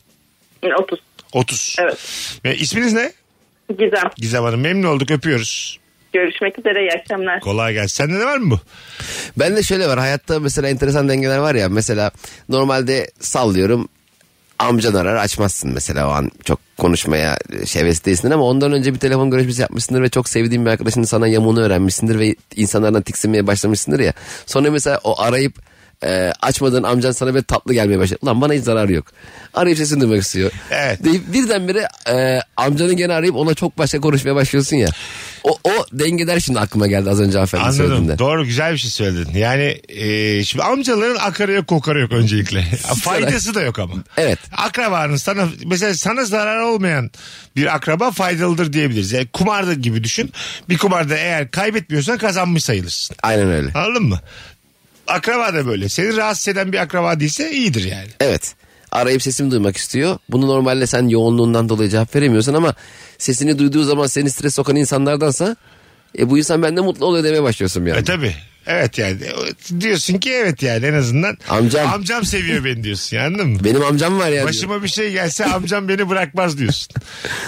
30. 30. Evet. Ve isminiz ne? Gizem. Gizem Hanım memnun olduk öpüyoruz. Görüşmek üzere iyi akşamlar. Kolay gelsin. Sende ne var mı bu? Ben de şöyle var. Hayatta mesela enteresan dengeler var ya. Mesela normalde sallıyorum amcan arar açmazsın mesela o an çok konuşmaya e, şeves değilsin ama ondan önce bir telefon görüşmesi yapmışsındır ve çok sevdiğin bir arkadaşının sana yamuğunu öğrenmişsindir ve insanlardan tiksinmeye başlamışsındır ya. Sonra mesela o arayıp e, açmadığın amcan sana böyle tatlı gelmeye başladı. Ulan bana hiç zararı yok. Arayıp sesini duymak istiyor. Evet. Deyip birdenbire e, amcanı gene arayıp ona çok başka konuşmaya başlıyorsun ya. O, o dengeler şimdi aklıma geldi az önce hanımefendi Anladım. söylediğinde. Doğru güzel bir şey söyledin. Yani e, şimdi amcaların akarı yok kokarı yok öncelikle. Faydası da yok ama. Evet. Akrabanın sana mesela sana zarar olmayan bir akraba faydalıdır diyebiliriz. Yani kumarda gibi düşün. Bir kumarda eğer kaybetmiyorsan kazanmış sayılırsın. Aynen öyle. Anladın mı? Akraba da böyle. Seni rahatsız eden bir akraba değilse iyidir yani. Evet. Arayıp sesimi duymak istiyor. Bunu normalde sen yoğunluğundan dolayı cevap veremiyorsun ama sesini duyduğu zaman seni stres sokan insanlardansa e, bu insan bende mutlu oluyor demeye başlıyorsun yani. E tabi. Evet yani. E, Diyorsun ki evet yani en azından. Amcam. Amcam seviyor beni diyorsun yani anladın mı? Benim amcam var ya. Başıma bir şey gelse amcam beni bırakmaz diyorsun.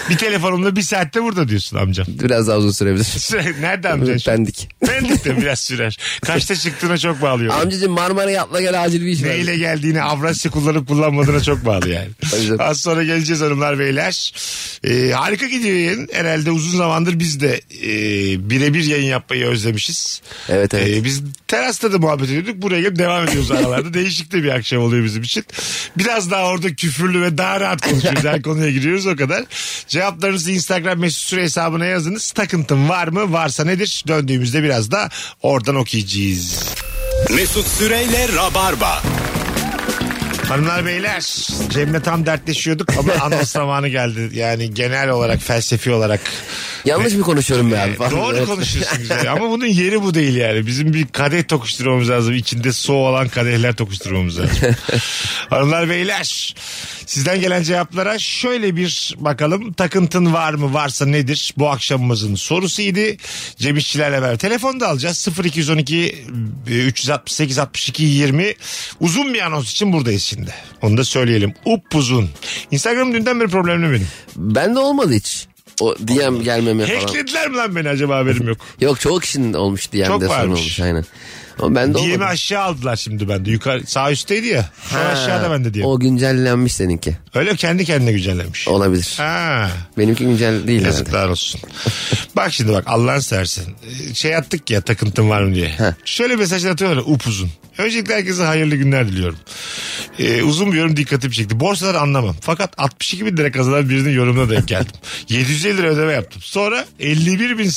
bir telefonumla bir saatte burada diyorsun amcam. Biraz daha uzun sürebilir. Süre- Nerede amcan? şu an? Pendik. Pendik de biraz sürer. Kaçta çıktığına çok bağlıyor. Amcacığım Marmara'ya atla gel acil bir iş var. Neyle geldiğini Avrasya kullanıp kullanmadığına çok bağlı yani. Az sonra geleceğiz hanımlar beyler. Ee, harika gidiyor yayın. Herhalde uzun zamandır biz de e, birebir yayın yapmayı özlemişiz. Evet evet. Ee, biz terasta da muhabbet ediyorduk. Buraya gelip devam ediyoruz aralarda. Değişik de bir akşam oluyor bizim için. Biraz daha orada küfürlü ve daha rahat konuşuyoruz. Her konuya giriyoruz o kadar. Cevaplarınızı Instagram mesut süre hesabına yazınız. Takıntım var mı? Varsa nedir? Döndüğümüzde biraz da oradan okuyacağız. Mesut Süreyle Rabarba. Hanımlar beyler Cem'le tam dertleşiyorduk ama anons zamanı geldi. Yani genel olarak felsefi olarak. Yanlış mı konuşuyorum ben? E, Doğru konuşuyorsun güzel ama bunun yeri bu değil yani. Bizim bir kadeh tokuşturmamız lazım. İçinde su olan kadehler tokuşturmamız lazım. Hanımlar beyler sizden gelen cevaplara şöyle bir bakalım. Takıntın var mı? Varsa nedir? Bu akşamımızın sorusuydu. Cem İşçilerle beraber telefonu da alacağız. 0212 e, 368 62 20 uzun bir anons için buradayız şimdi. Onu da söyleyelim. Upuzun. Instagram dünden beri problemli benim. Ben de olmadı hiç. O DM gelmeme falan. Hacklediler mi lan beni acaba haberim yok. Yok çoğu kişinin olmuş DM'de Çok sorun varmış. olmuş aynen. Ama ben de DM'i olmadı. aşağı aldılar şimdi bende. Yukarı sağ üstteydi ya. Şu an Ha, aşağıda bende diye. O güncellenmiş seninki. Öyle kendi kendine güncellemiş. Olabilir. Ha. Benimki güncel değil herhalde. Yazıklar olsun. bak şimdi bak Allah'ın seversen. Ee, Şey attık ya takıntın var mı diye. Şöyle mesajlar atıyorlar ya, upuzun. Öncelikle herkese hayırlı günler diliyorum. Ee, uzun bir yorum dikkatimi çekti. Borsaları anlamam. Fakat 62 bin lira kazanan birinin yorumuna denk geldim. 750 lira ödeme yaptım. Sonra 51 bin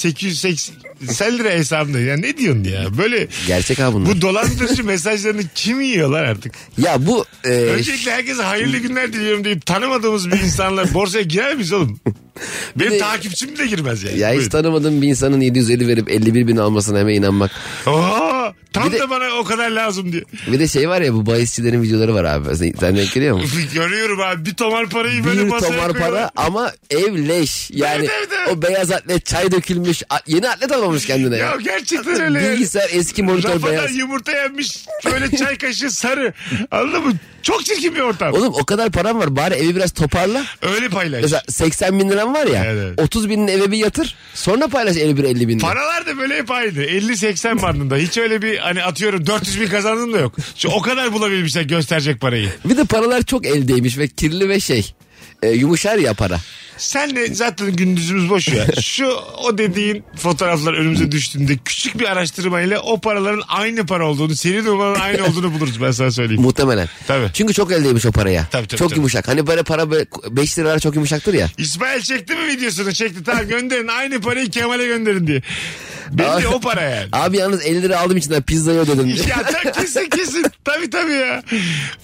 880 lira hesabımda. Ya ne diyorsun ya? Böyle Gerçek abi bunlar. bu dolandırıcı mesajlarını kim yiyorlar artık? Ya bu e, Öncelikle herkese hayırlı günler diliyorum deyip tanımadığımız bir insanla borsaya girer miyiz oğlum? Benim de- takipçim de girmez yani. ya hiç E, Buyurun. tanımadığım bir insanın 750 verip 51 bin almasına hemen inanmak. Aa, tam da bana o kadar lazım diye. Bir de şey var ya bu bahisçilerin videoları var abi. Sen, sen denk geliyor mu? Görüyorum abi bir tomar parayı böyle bir masaya tomar para koyuyorlar. ama ev leş. Yani Evet, evet, evet. o beyaz atlet çay dökülmüş. A- Yeni atlet almamış kendine. Ya gerçekten öyle yani. Bilgisayar eski monitör Rafadan beyaz. yumurta yenmiş böyle çay kaşığı sarı. Anladın mı? Çok çirkin bir ortam. Oğlum o kadar param var bari evi biraz toparla. Öyle paylaş. Mesela 80 bin liram var ya. Evet, evet. 30 binin eve bir yatır. Sonra paylaş 51-50 bin. lira. Paralar da böyle hep aynı. 50-80 bandında. Hiç öyle bir hani atıyorum 400 bin kazandım da yok. Şu o kadar bulabilmişler gösterecek parayı. Bir de paralar çok eldeymiş ve kirli ve şey. e, yumuşar ya para. Senle zaten gündüzümüz boş ya. Şu o dediğin fotoğraflar önümüze düştüğünde küçük bir araştırmayla o paraların aynı para olduğunu, senin numaranın aynı olduğunu buluruz ben sana söyleyeyim. Muhtemelen. Tabii. Çünkü çok eldeymiş o paraya. Tabii, tabii, çok tabii. yumuşak. Hani böyle para 5 liralar çok yumuşaktır ya. İsmail çekti mi videosunu? Çekti. Tamam gönderin. Aynı parayı Kemal'e gönderin diye. Belli Abi- o para yani. Abi yalnız 50 lira aldım içinden pizzayı ödedim. Ya tabii kesin kesin. Tabii tabii ya.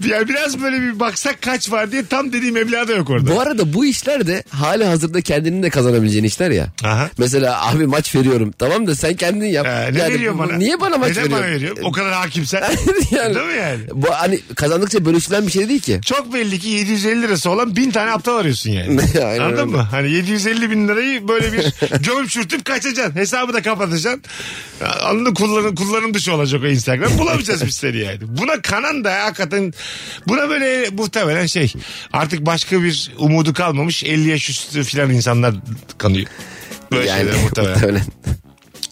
Yani biraz böyle bir baksak kaç var diye tam dediğim meblağ da yok orada. Bu arada bu işler de hali hazırda kendini de kazanabileceğin işler ya. Aha. Mesela abi maç veriyorum tamam da sen kendin yap. Ee, ne Yani veriyor bu- bana? Niye bana maç Neden veriyorsun? bana veriyor? O kadar hakimsen. Yani- Değil mi yani? Bu hani kazandıkça bölüşülen bir şey değil ki. Çok belli ki 750 lirası olan bin tane aptal arıyorsun yani. Aynen Anladın öyle. mı? Hani 750 bin lirayı böyle bir gömüp çürütüp kaçacaksın. Hesabı da kapatacaksın. Anladın kullanım, kullanım dışı olacak o Instagram. Bulamayacağız biz seni yani. Buna kanan da hakikaten buna böyle muhtemelen şey artık başka bir umudu kalmamış 50 yaş üstü filan insanlar kanıyor. Böyle Yani şeyler muhtemelen. muhtemelen.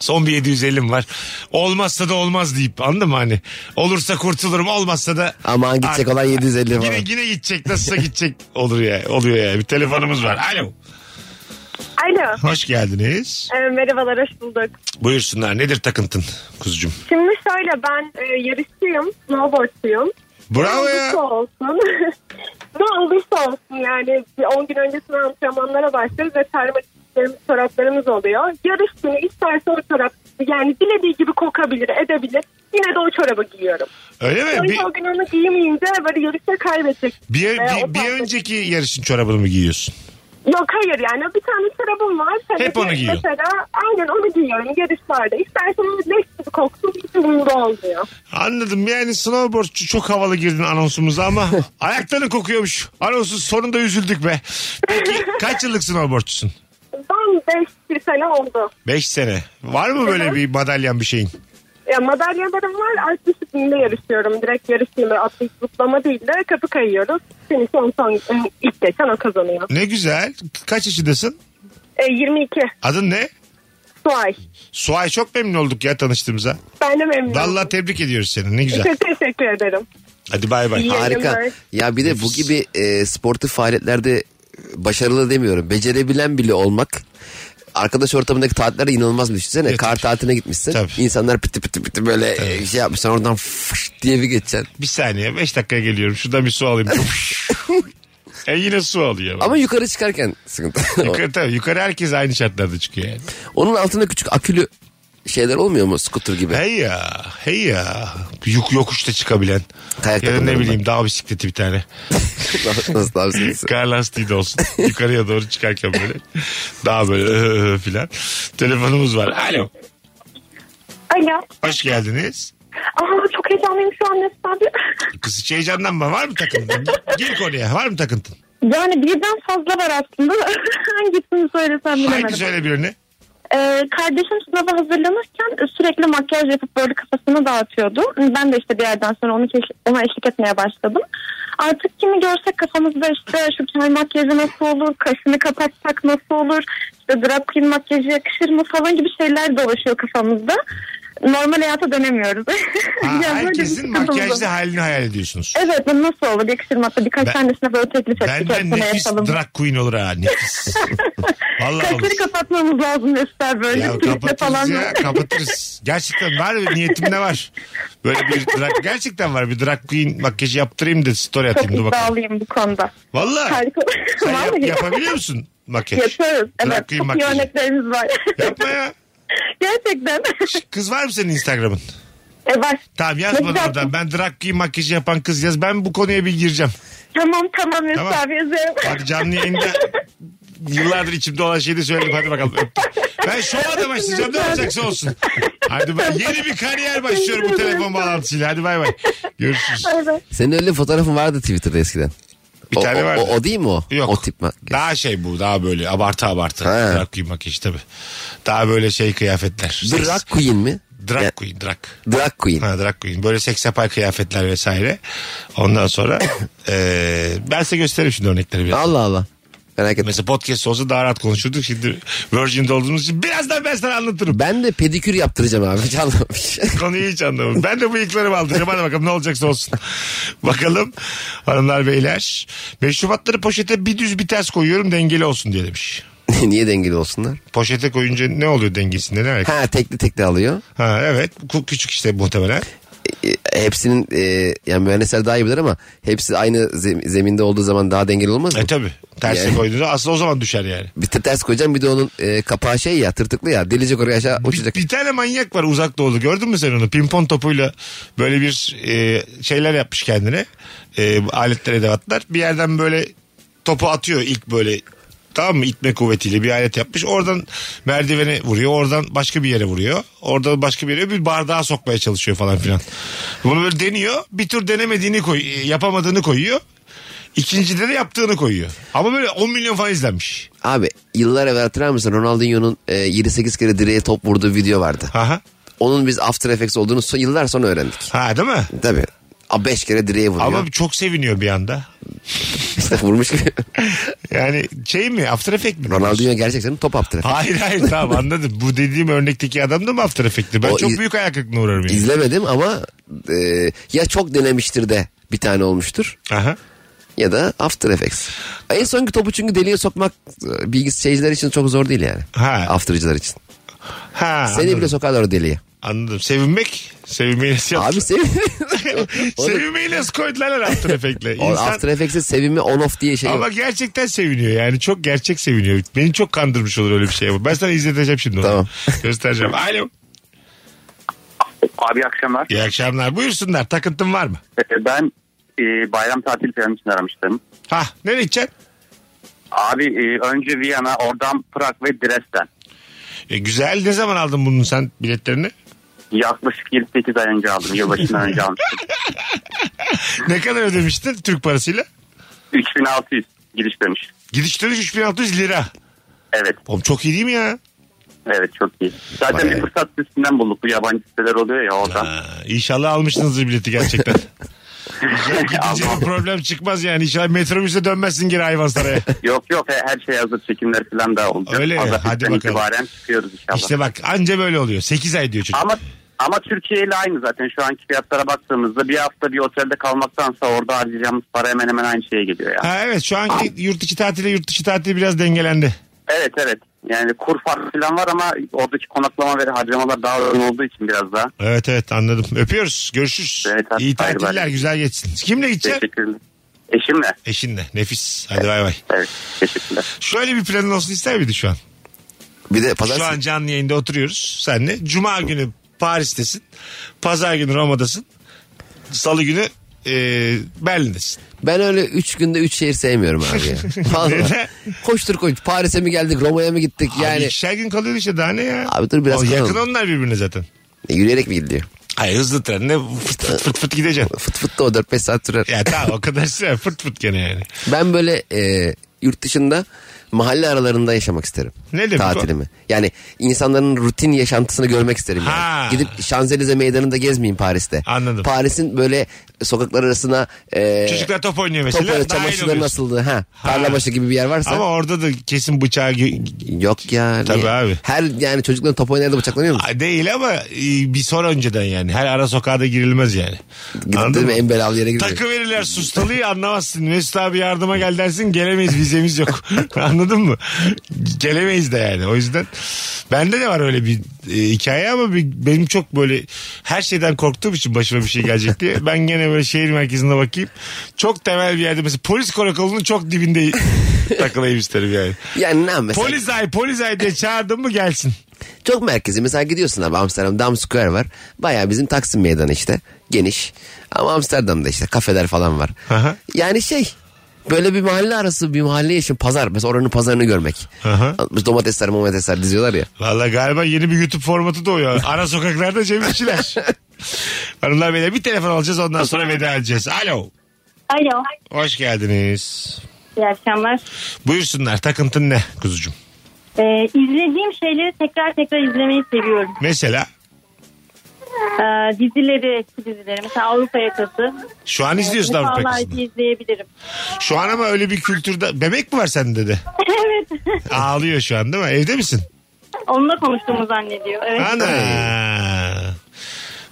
Son bir 750'm var. Olmazsa da olmaz deyip anladın mı hani? Olursa kurtulurum olmazsa da. Aman gidecek olan 750 falan. Yine, yine gidecek nasılsa gidecek olur ya oluyor ya. Bir telefonumuz var. Alo. Alo. Hoş geldiniz. Ee, merhabalar hoş bulduk. Buyursunlar nedir takıntın kuzucuğum? Şimdi şöyle ben e, yarışçıyım, snowboardçuyum. Bravo ne ya. olursa olsun. ne olursa olsun yani bir 10 gün öncesine antrenmanlara başlıyoruz ve termal giysilerimiz, çoraplarımız oluyor. Yarış günü isterse o çorap yani dilediği gibi kokabilir, edebilir. Yine de o çorabı giyiyorum. Öyle mi? Sonuçta Bir- o gün onu giymeyince böyle yarışta kaybedecek. Bir, Ee, o bir, bir tarz- önceki yarışın çorabını mı giyiyorsun? Yok hayır yani bir tane çorabım var. Tabii Hep ki onu giyiyorsun. Mesela aynen onu giyiyorum yarışlarda. İsterseniz leş gibi koksun hiç umurumda olmuyor. Anladım yani snowboardçu çok havalı girdin anonsumuza ama ayakların kokuyormuş. Anonsun sonunda üzüldük be. Peki kaç yıllık snowboardçusun? Ben 5 bir sene oldu. 5 sene. Var mı böyle bir madalyan bir şeyin? Ya madalyalarım var. Alt disiplinde yarışıyorum. Direkt yarışıyorum. Atlayıp zıplama değil de kapı kayıyoruz. Seni son son e, ilk geçen o kazanıyor. Ne güzel. Kaç yaşındasın? E, 22. Adın ne? Suay. Suay çok memnun olduk ya tanıştığımıza. Ben de memnunum. Vallahi tebrik ediyoruz seni ne güzel. Te- teşekkür ederim. Hadi bay bay. İyi Harika. yayınlar. Ya bir de bu gibi e, sportif faaliyetlerde başarılı demiyorum. Becerebilen bile olmak arkadaş ortamındaki tatillere inanılmaz bir şey. düşünsene. Kar tatiline gitmişsin. İnsanlar piti piti piti böyle e, şey yapmışlar oradan fış diye bir geçeceksin. Bir saniye 5 dakikaya geliyorum. Şuradan bir su alayım. e yine su alıyor. Ama yukarı çıkarken sıkıntı. yukarı, tabii, yukarı herkes aynı şartlarda çıkıyor yani. Onun altında küçük akülü şeyler olmuyor mu? Scooter gibi. Hey ya, hey ya. Yok, yokuşta çıkabilen. ya da ne takımlarından. bileyim dağ bisikleti bir tane. Nasıl tavsiyesi? Kar lastiği de olsun. Yukarıya doğru çıkarken böyle. Daha böyle filan. Telefonumuz var. Alo. Alo. Hoş geldiniz. Aa, çok heyecanlıyım şu an Mesut abi. Kız hiç heyecanlanma. Var mı takıntın? Gir konuya. Var mı takıntın? Yani birden fazla var aslında. Hangisini söylesem bilemedim. Haydi söyle birini. Ee, kardeşim sınava hazırlanırken sürekli makyaj yapıp böyle kafasını dağıtıyordu. Ben de işte bir yerden sonra onu keş- ona eşlik etmeye başladım. Artık kimi görsek kafamızda işte şu kel makyajı nasıl olur, kaşını kapatsak nasıl olur, işte drag queen makyajı yakışır mı falan gibi şeyler dolaşıyor kafamızda. Normal hayata dönemiyoruz. Ha, Yani böyle bir herkesin sıkıntımız var. makyajlı halini hayal ediyorsunuz. Evet bu nasıl olur yakışır mı? Hatta birkaç Ben- tanesine böyle teklif ettik. Benden Hepsine nefis yapalım. drag queen olur ha. Nefis. Vallahi olur. Kaşları kapatmamız lazım Mesut böyle Ya sürekli falan. kapatırız ya kapatırız. Gerçekten var niyetimde var. Böyle bir drag, gerçekten var bir drag queen makyajı yaptırayım da story Çok atayım dur bakalım. iddialıyım bu konuda. Vallahi. Harika. Sen Var yap- mı? yapabiliyor musun makyaj? Yapıyoruz. Drag Evet. queen Çok iyi makyajı. örneklerimiz var. Yapma ya. Gerçekten. Kız var mı senin Instagram'ın? E var. Tamam yaz bana Yapacaksın. oradan. Ben drag queen makyajı yapan kız yaz. Ben bu konuya bir gireceğim. Tamam tamam Mesut Tamam. abi yazıyorum. Bak canlı yayında yıllardır içimde olan şeyi de söyledim. Hadi bakalım. Öptüm. Ben şova da başlayacağım. Ne olacaksa olsun. Hadi ben yeni bir kariyer başlıyorum bu telefon bağlantısıyla. Hadi bay bay. Görüşürüz. Senin öyle fotoğrafın vardı Twitter'da eskiden. Bir o, tane o- vardı. O, o değil mi o? Yok. O tip mi? Daha şey bu daha böyle abartı abartı. Drag queen makyajı tabii. Daha böyle şey kıyafetler. Drag Queen mi? Drag queen drag. Drag Queen. Ha, drag queen. Böyle seks yapay kıyafetler vesaire. Ondan sonra eee ben size gösteririm şimdi örnekleri biraz. Allah Allah. Merak etme. Mesela podcast olsa daha rahat konuşurduk. Şimdi Virgin'de olduğumuz için birazdan ben sana anlatırım. Ben de pedikür yaptıracağım abi. Hiç anlamamış. Konuyu hiç anlamadım. Ben de bıyıklarımı aldıracağım. Hadi bakalım ne olacaksa olsun. bakalım hanımlar beyler. Meşrubatları poşete bir düz bir ters koyuyorum dengeli olsun diye demiş. Niye dengeli olsunlar? Poşete koyunca ne oluyor dengesinde ne alaka? Ha tekli tekli alıyor. Ha evet Ku- küçük işte muhtemelen. E, hepsinin e, yani mühendisler daha iyi bilir ama hepsi aynı zem- zeminde olduğu zaman daha dengeli olmaz mı? E tabi terse Yani- koyduğunda aslında o zaman düşer yani. Bir te- ters koyacağım bir de onun e, kapağı şey ya tırtıklı ya delecek oraya aşağı uçacak. Bir tane manyak var uzak doğulu gördün mü sen onu? Pimpon topuyla böyle bir e, şeyler yapmış kendine. E, aletler edevatlar. Bir yerden böyle topu atıyor ilk böyle tamam mı itme kuvvetiyle bir alet yapmış. Oradan merdivene vuruyor. Oradan başka bir yere vuruyor. Oradan başka bir yere bir bardağa sokmaya çalışıyor falan filan. Bunu böyle deniyor. Bir tür denemediğini koy, e, yapamadığını koyuyor. İkincide de yaptığını koyuyor. Ama böyle 10 milyon falan izlenmiş. Abi yıllar evvel hatırlar mısın Ronaldinho'nun e, 28 kere direğe top vurduğu video vardı. Onun biz After Effects olduğunu so- yıllar sonra öğrendik. Ha değil mi? Tabii. 5 kere direğe vuruyor. Ama çok seviniyor bir anda. İşte vurmuş gibi. Yani şey mi After Effect mi? Ronaldinho gerçek senin top After Effect. Hayır hayır tamam anladım. Bu dediğim örnekteki adam da mı After Effect'ti? Ben O çok iz- büyük ayak kırıklığına uğrarım yani. İzlemedim ama e, ya çok denemiştir de bir tane olmuştur. Ya da After Effects. En sonki topu çünkü deliğe sokmak e, bilgisayarcılar için çok zor değil yani. Ha. After'cılar için. Ha, Seni anladım. bile sokarlar o deliğe. Anladım. Sevinmek. Sevinmeyi nasıl yaptın? Abi sevin. Sevinmeyi nasıl koydular lan After Effect'le? O İnsan- After Effects'e sevinme on off diye şey Ama yok. gerçekten seviniyor yani çok gerçek seviniyor. Beni çok kandırmış olur öyle bir şey. yapıp. Ben sana izleteceğim şimdi onu. Tamam. Göstereceğim. Alo. Abi iyi akşamlar. İyi akşamlar. Buyursunlar. Takıntın var mı? Ee, Ben e, bayram tatil planı için aramıştım. Ha nereye gideceksin? Abi e, önce Viyana, oradan Prag ve Dresden. E, güzel. Ne zaman aldın bunun sen biletlerini? Yaklaşık 28 ay önce aldım. Yılbaşından önce almıştım. ne kadar ödemiştin Türk parasıyla? 3600 giriş dönüş. Gidiş dönüş 3600 lira. Evet. Oğlum çok iyi değil mi ya? Evet çok iyi. Zaten bir fırsat sitesinden bulduk. Bu yabancı siteler oluyor ya oradan. İnşallah almışsınızdır bileti gerçekten. İnşallah gidince bir problem çıkmaz yani. İnşallah metrobüse dönmezsin geri hayvan saraya. Yok yok he- her şey hazır çekimler falan da olacak. Öyle mi? Pazartesi Hadi bakalım. itibaren çıkıyoruz inşallah. işte bak anca böyle oluyor. 8 ay diyor çocuk. Ama ama Türkiye ile aynı zaten şu anki fiyatlara baktığımızda bir hafta bir otelde kalmaktansa orada harcayacağımız para hemen hemen aynı şeye geliyor ya. Ha, evet şu anki yurt içi tatile yurt dışı tatili biraz dengelendi. Evet evet. Yani kur farkı falan var ama oradaki konaklama ve harcamalar daha uygun olduğu için biraz daha. Evet evet anladım. Öpüyoruz. Görüşürüz. İyi Hayır, tatiller bay. güzel geçsin. Kimle gideceksin? Teşekkürler. Eşimle. Eşinle. Nefis. Hadi bay bay. Evet. Teşekkürler. Şöyle bir planın olsun ister miydin şu an? Bir de Şu pazartesi. an canlı yayında oturuyoruz senle. Cuma günü Paris'tesin. Pazar günü Roma'dasın. Salı günü e, Berlin'desin. Ben öyle 3 günde 3 şehir sevmiyorum abi ya. Vallahi. Neden? koştur koştur. Paris'e mi geldik Roma'ya mı gittik Yani... yani. İkişer gün kalıyor işte daha ne ya? Abi dur biraz O yakın kalalım. onlar birbirine zaten. E, Yürüyerek mi gidiyor? Hayır hızlı trenle fıt fıt fıt, fıt gideceksin. Fıt fıt da o 4-5 saat sürer. Ya tamam o kadar süre fırt fırt gene yani. Ben böyle e, yurt dışında mahalle aralarında yaşamak isterim. Ne demek o? Tatilimi. Yani insanların rutin yaşantısını görmek isterim. yani. Ha. Gidip Şanzelize meydanında gezmeyeyim Paris'te. Anladım. Paris'in böyle sokaklar arasına e, Çocuklar top oynuyor top mesela. oynuyor, dahil çamaşırları oluyorsun. nasıldı? Ha, tarlabaşı gibi bir yer varsa. Ama orada da kesin bıçağı... Yok yani. Tabii abi. Her yani çocukların top oynayan da bıçaklanıyor mu? Ay, Değil ama e, bir son önceden yani. Her ara sokağa da girilmez yani. Anladın Değil mi? mı? En belalı yere gidiyor. Takı verirler sustalıyı anlamazsın. Mesut abi yardıma gel dersin gelemeyiz vizemiz yok. Anladın mı? Gelemeyiz de yani. O yüzden bende de var öyle bir e, hikaye ama bir- benim çok böyle her şeyden korktuğum için başıma bir şey gelecek diye. Ben gene böyle şehir merkezine bakayım. Çok temel bir yerde mesela polis karakolunun çok dibinde takılayım isterim yani. Yani ne mesela? Polis ay polis ay diye çağırdım mı gelsin. Çok merkezi. Mesela gidiyorsun abi Amsterdam Dam Square var. Baya bizim Taksim Meydanı işte. Geniş. Ama Amsterdam'da işte kafeler falan var. Aha. Yani şey böyle bir mahalle arası bir mahalle için pazar. Mesela oranın pazarını görmek. Aha. Domatesler domatesler diziyorlar ya. Valla galiba yeni bir YouTube formatı doğuyor. Ara sokaklarda Cem İşçiler. Hanımlar beyler bir telefon alacağız ondan sonra veda edeceğiz. Alo. Alo. Hoş geldiniz. İyi akşamlar. Buyursunlar takıntın ne kuzucuğum? Ee, izlediğim şeyleri tekrar tekrar izlemeyi seviyorum. Mesela Ee, dizileri, eski dizileri. Mesela Avrupa Yakası. şu an izliyorsun Ee, Avrupa defalarca Yakası'nı. izleyebilirim. Şu an ama öyle bir kültürde bebek mi var sende de? evet. Ağlıyor şu an değil mi? Evde misin? Onunla konuştuğumu zannediyor. Evet. Ana.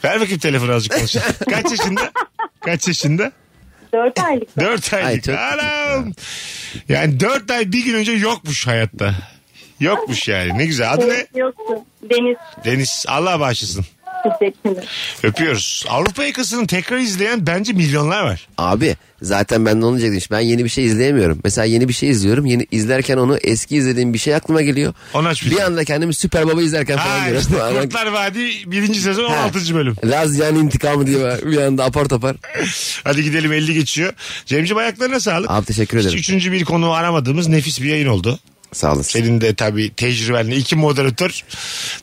Ver bakayım telefonu azıcık konuşalım. Kaç yaşında? Kaç yaşında? 4 aylık. Dört aylık. Anam. Yani dört ay bir gün önce yokmuş hayatta. Yokmuş yani. Ne güzel. Adı ne? Evet, Yoktu. Deniz. Deniz. Allah bağışlasın. Teşekkürler. Öpüyoruz. Avrupa yakasını tekrar izleyen bence milyonlar var. Abi zaten ben de onu diyecektim. İşte Ben yeni bir şey izleyemiyorum. Mesela yeni bir şey izliyorum. Yeni izlerken onu eski izlediğim bir şey aklıma geliyor. Onu aç bir Bir anda kendimi Süper Baba izlerken falan Ha görüyorum. işte Aynen. Kurtlar Vadi birinci sezon 16. bölüm. Lazyan intikamı diyor bir anda apar topar. Hadi gidelim 50 geçiyor. Cemciğim ayaklarına sağlık. Abi teşekkür ederim. Üçüncü bir konu aramadığımız nefis bir yayın oldu. Sağ olun. Senin de tabii tecrübenle iki moderatör.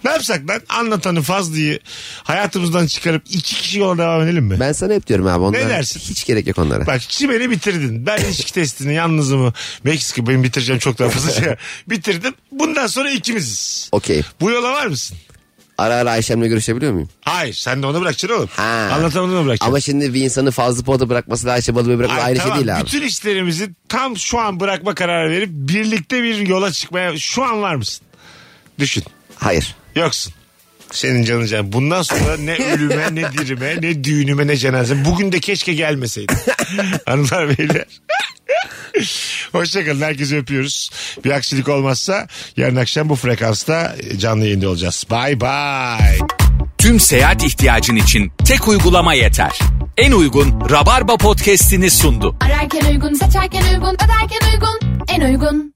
Ne yapsak lan? Anlatanı Fazlı'yı hayatımızdan çıkarıp iki kişi yola devam edelim mi? Ben sana hep diyorum abi onlara dersin? hiç gerek yok onlara. Bak çimeni bitirdin. Ben ilişki testini yalnızımı Meksika benim bitireceğim çok daha fazla şey. Bitirdim. Bundan sonra ikimiziz. Okey. Bu yola var mısın? Ara ara Ayşem'le görüşebiliyor muyum? Hayır sen de onu bırakacaksın oğlum. Anlatamadığını bırakacaksın. Ama şimdi bir insanı fazla poda bırakması da Ayşe Balıbey bırakması Ay, ayrı tamam. şey değil abi. Bütün işlerimizi tam şu an bırakma kararı verip birlikte bir yola çıkmaya şu an var mısın? Düşün. Hayır. Yoksun. Senin canın can. Bundan sonra ne ölüme ne dirime ne düğünüme ne cenazeme. Bugün de keşke gelmeseydin. Hanımlar beyler. Hoşçakalın. Herkesi öpüyoruz. Bir aksilik olmazsa yarın akşam bu frekansta canlı yayında olacağız. Bay bay. Tüm seyahat ihtiyacın için tek uygulama yeter. En uygun Rabarba podcast'ini sundu. Ararken uygun, seçerken uygun, öderken uygun, en uygun.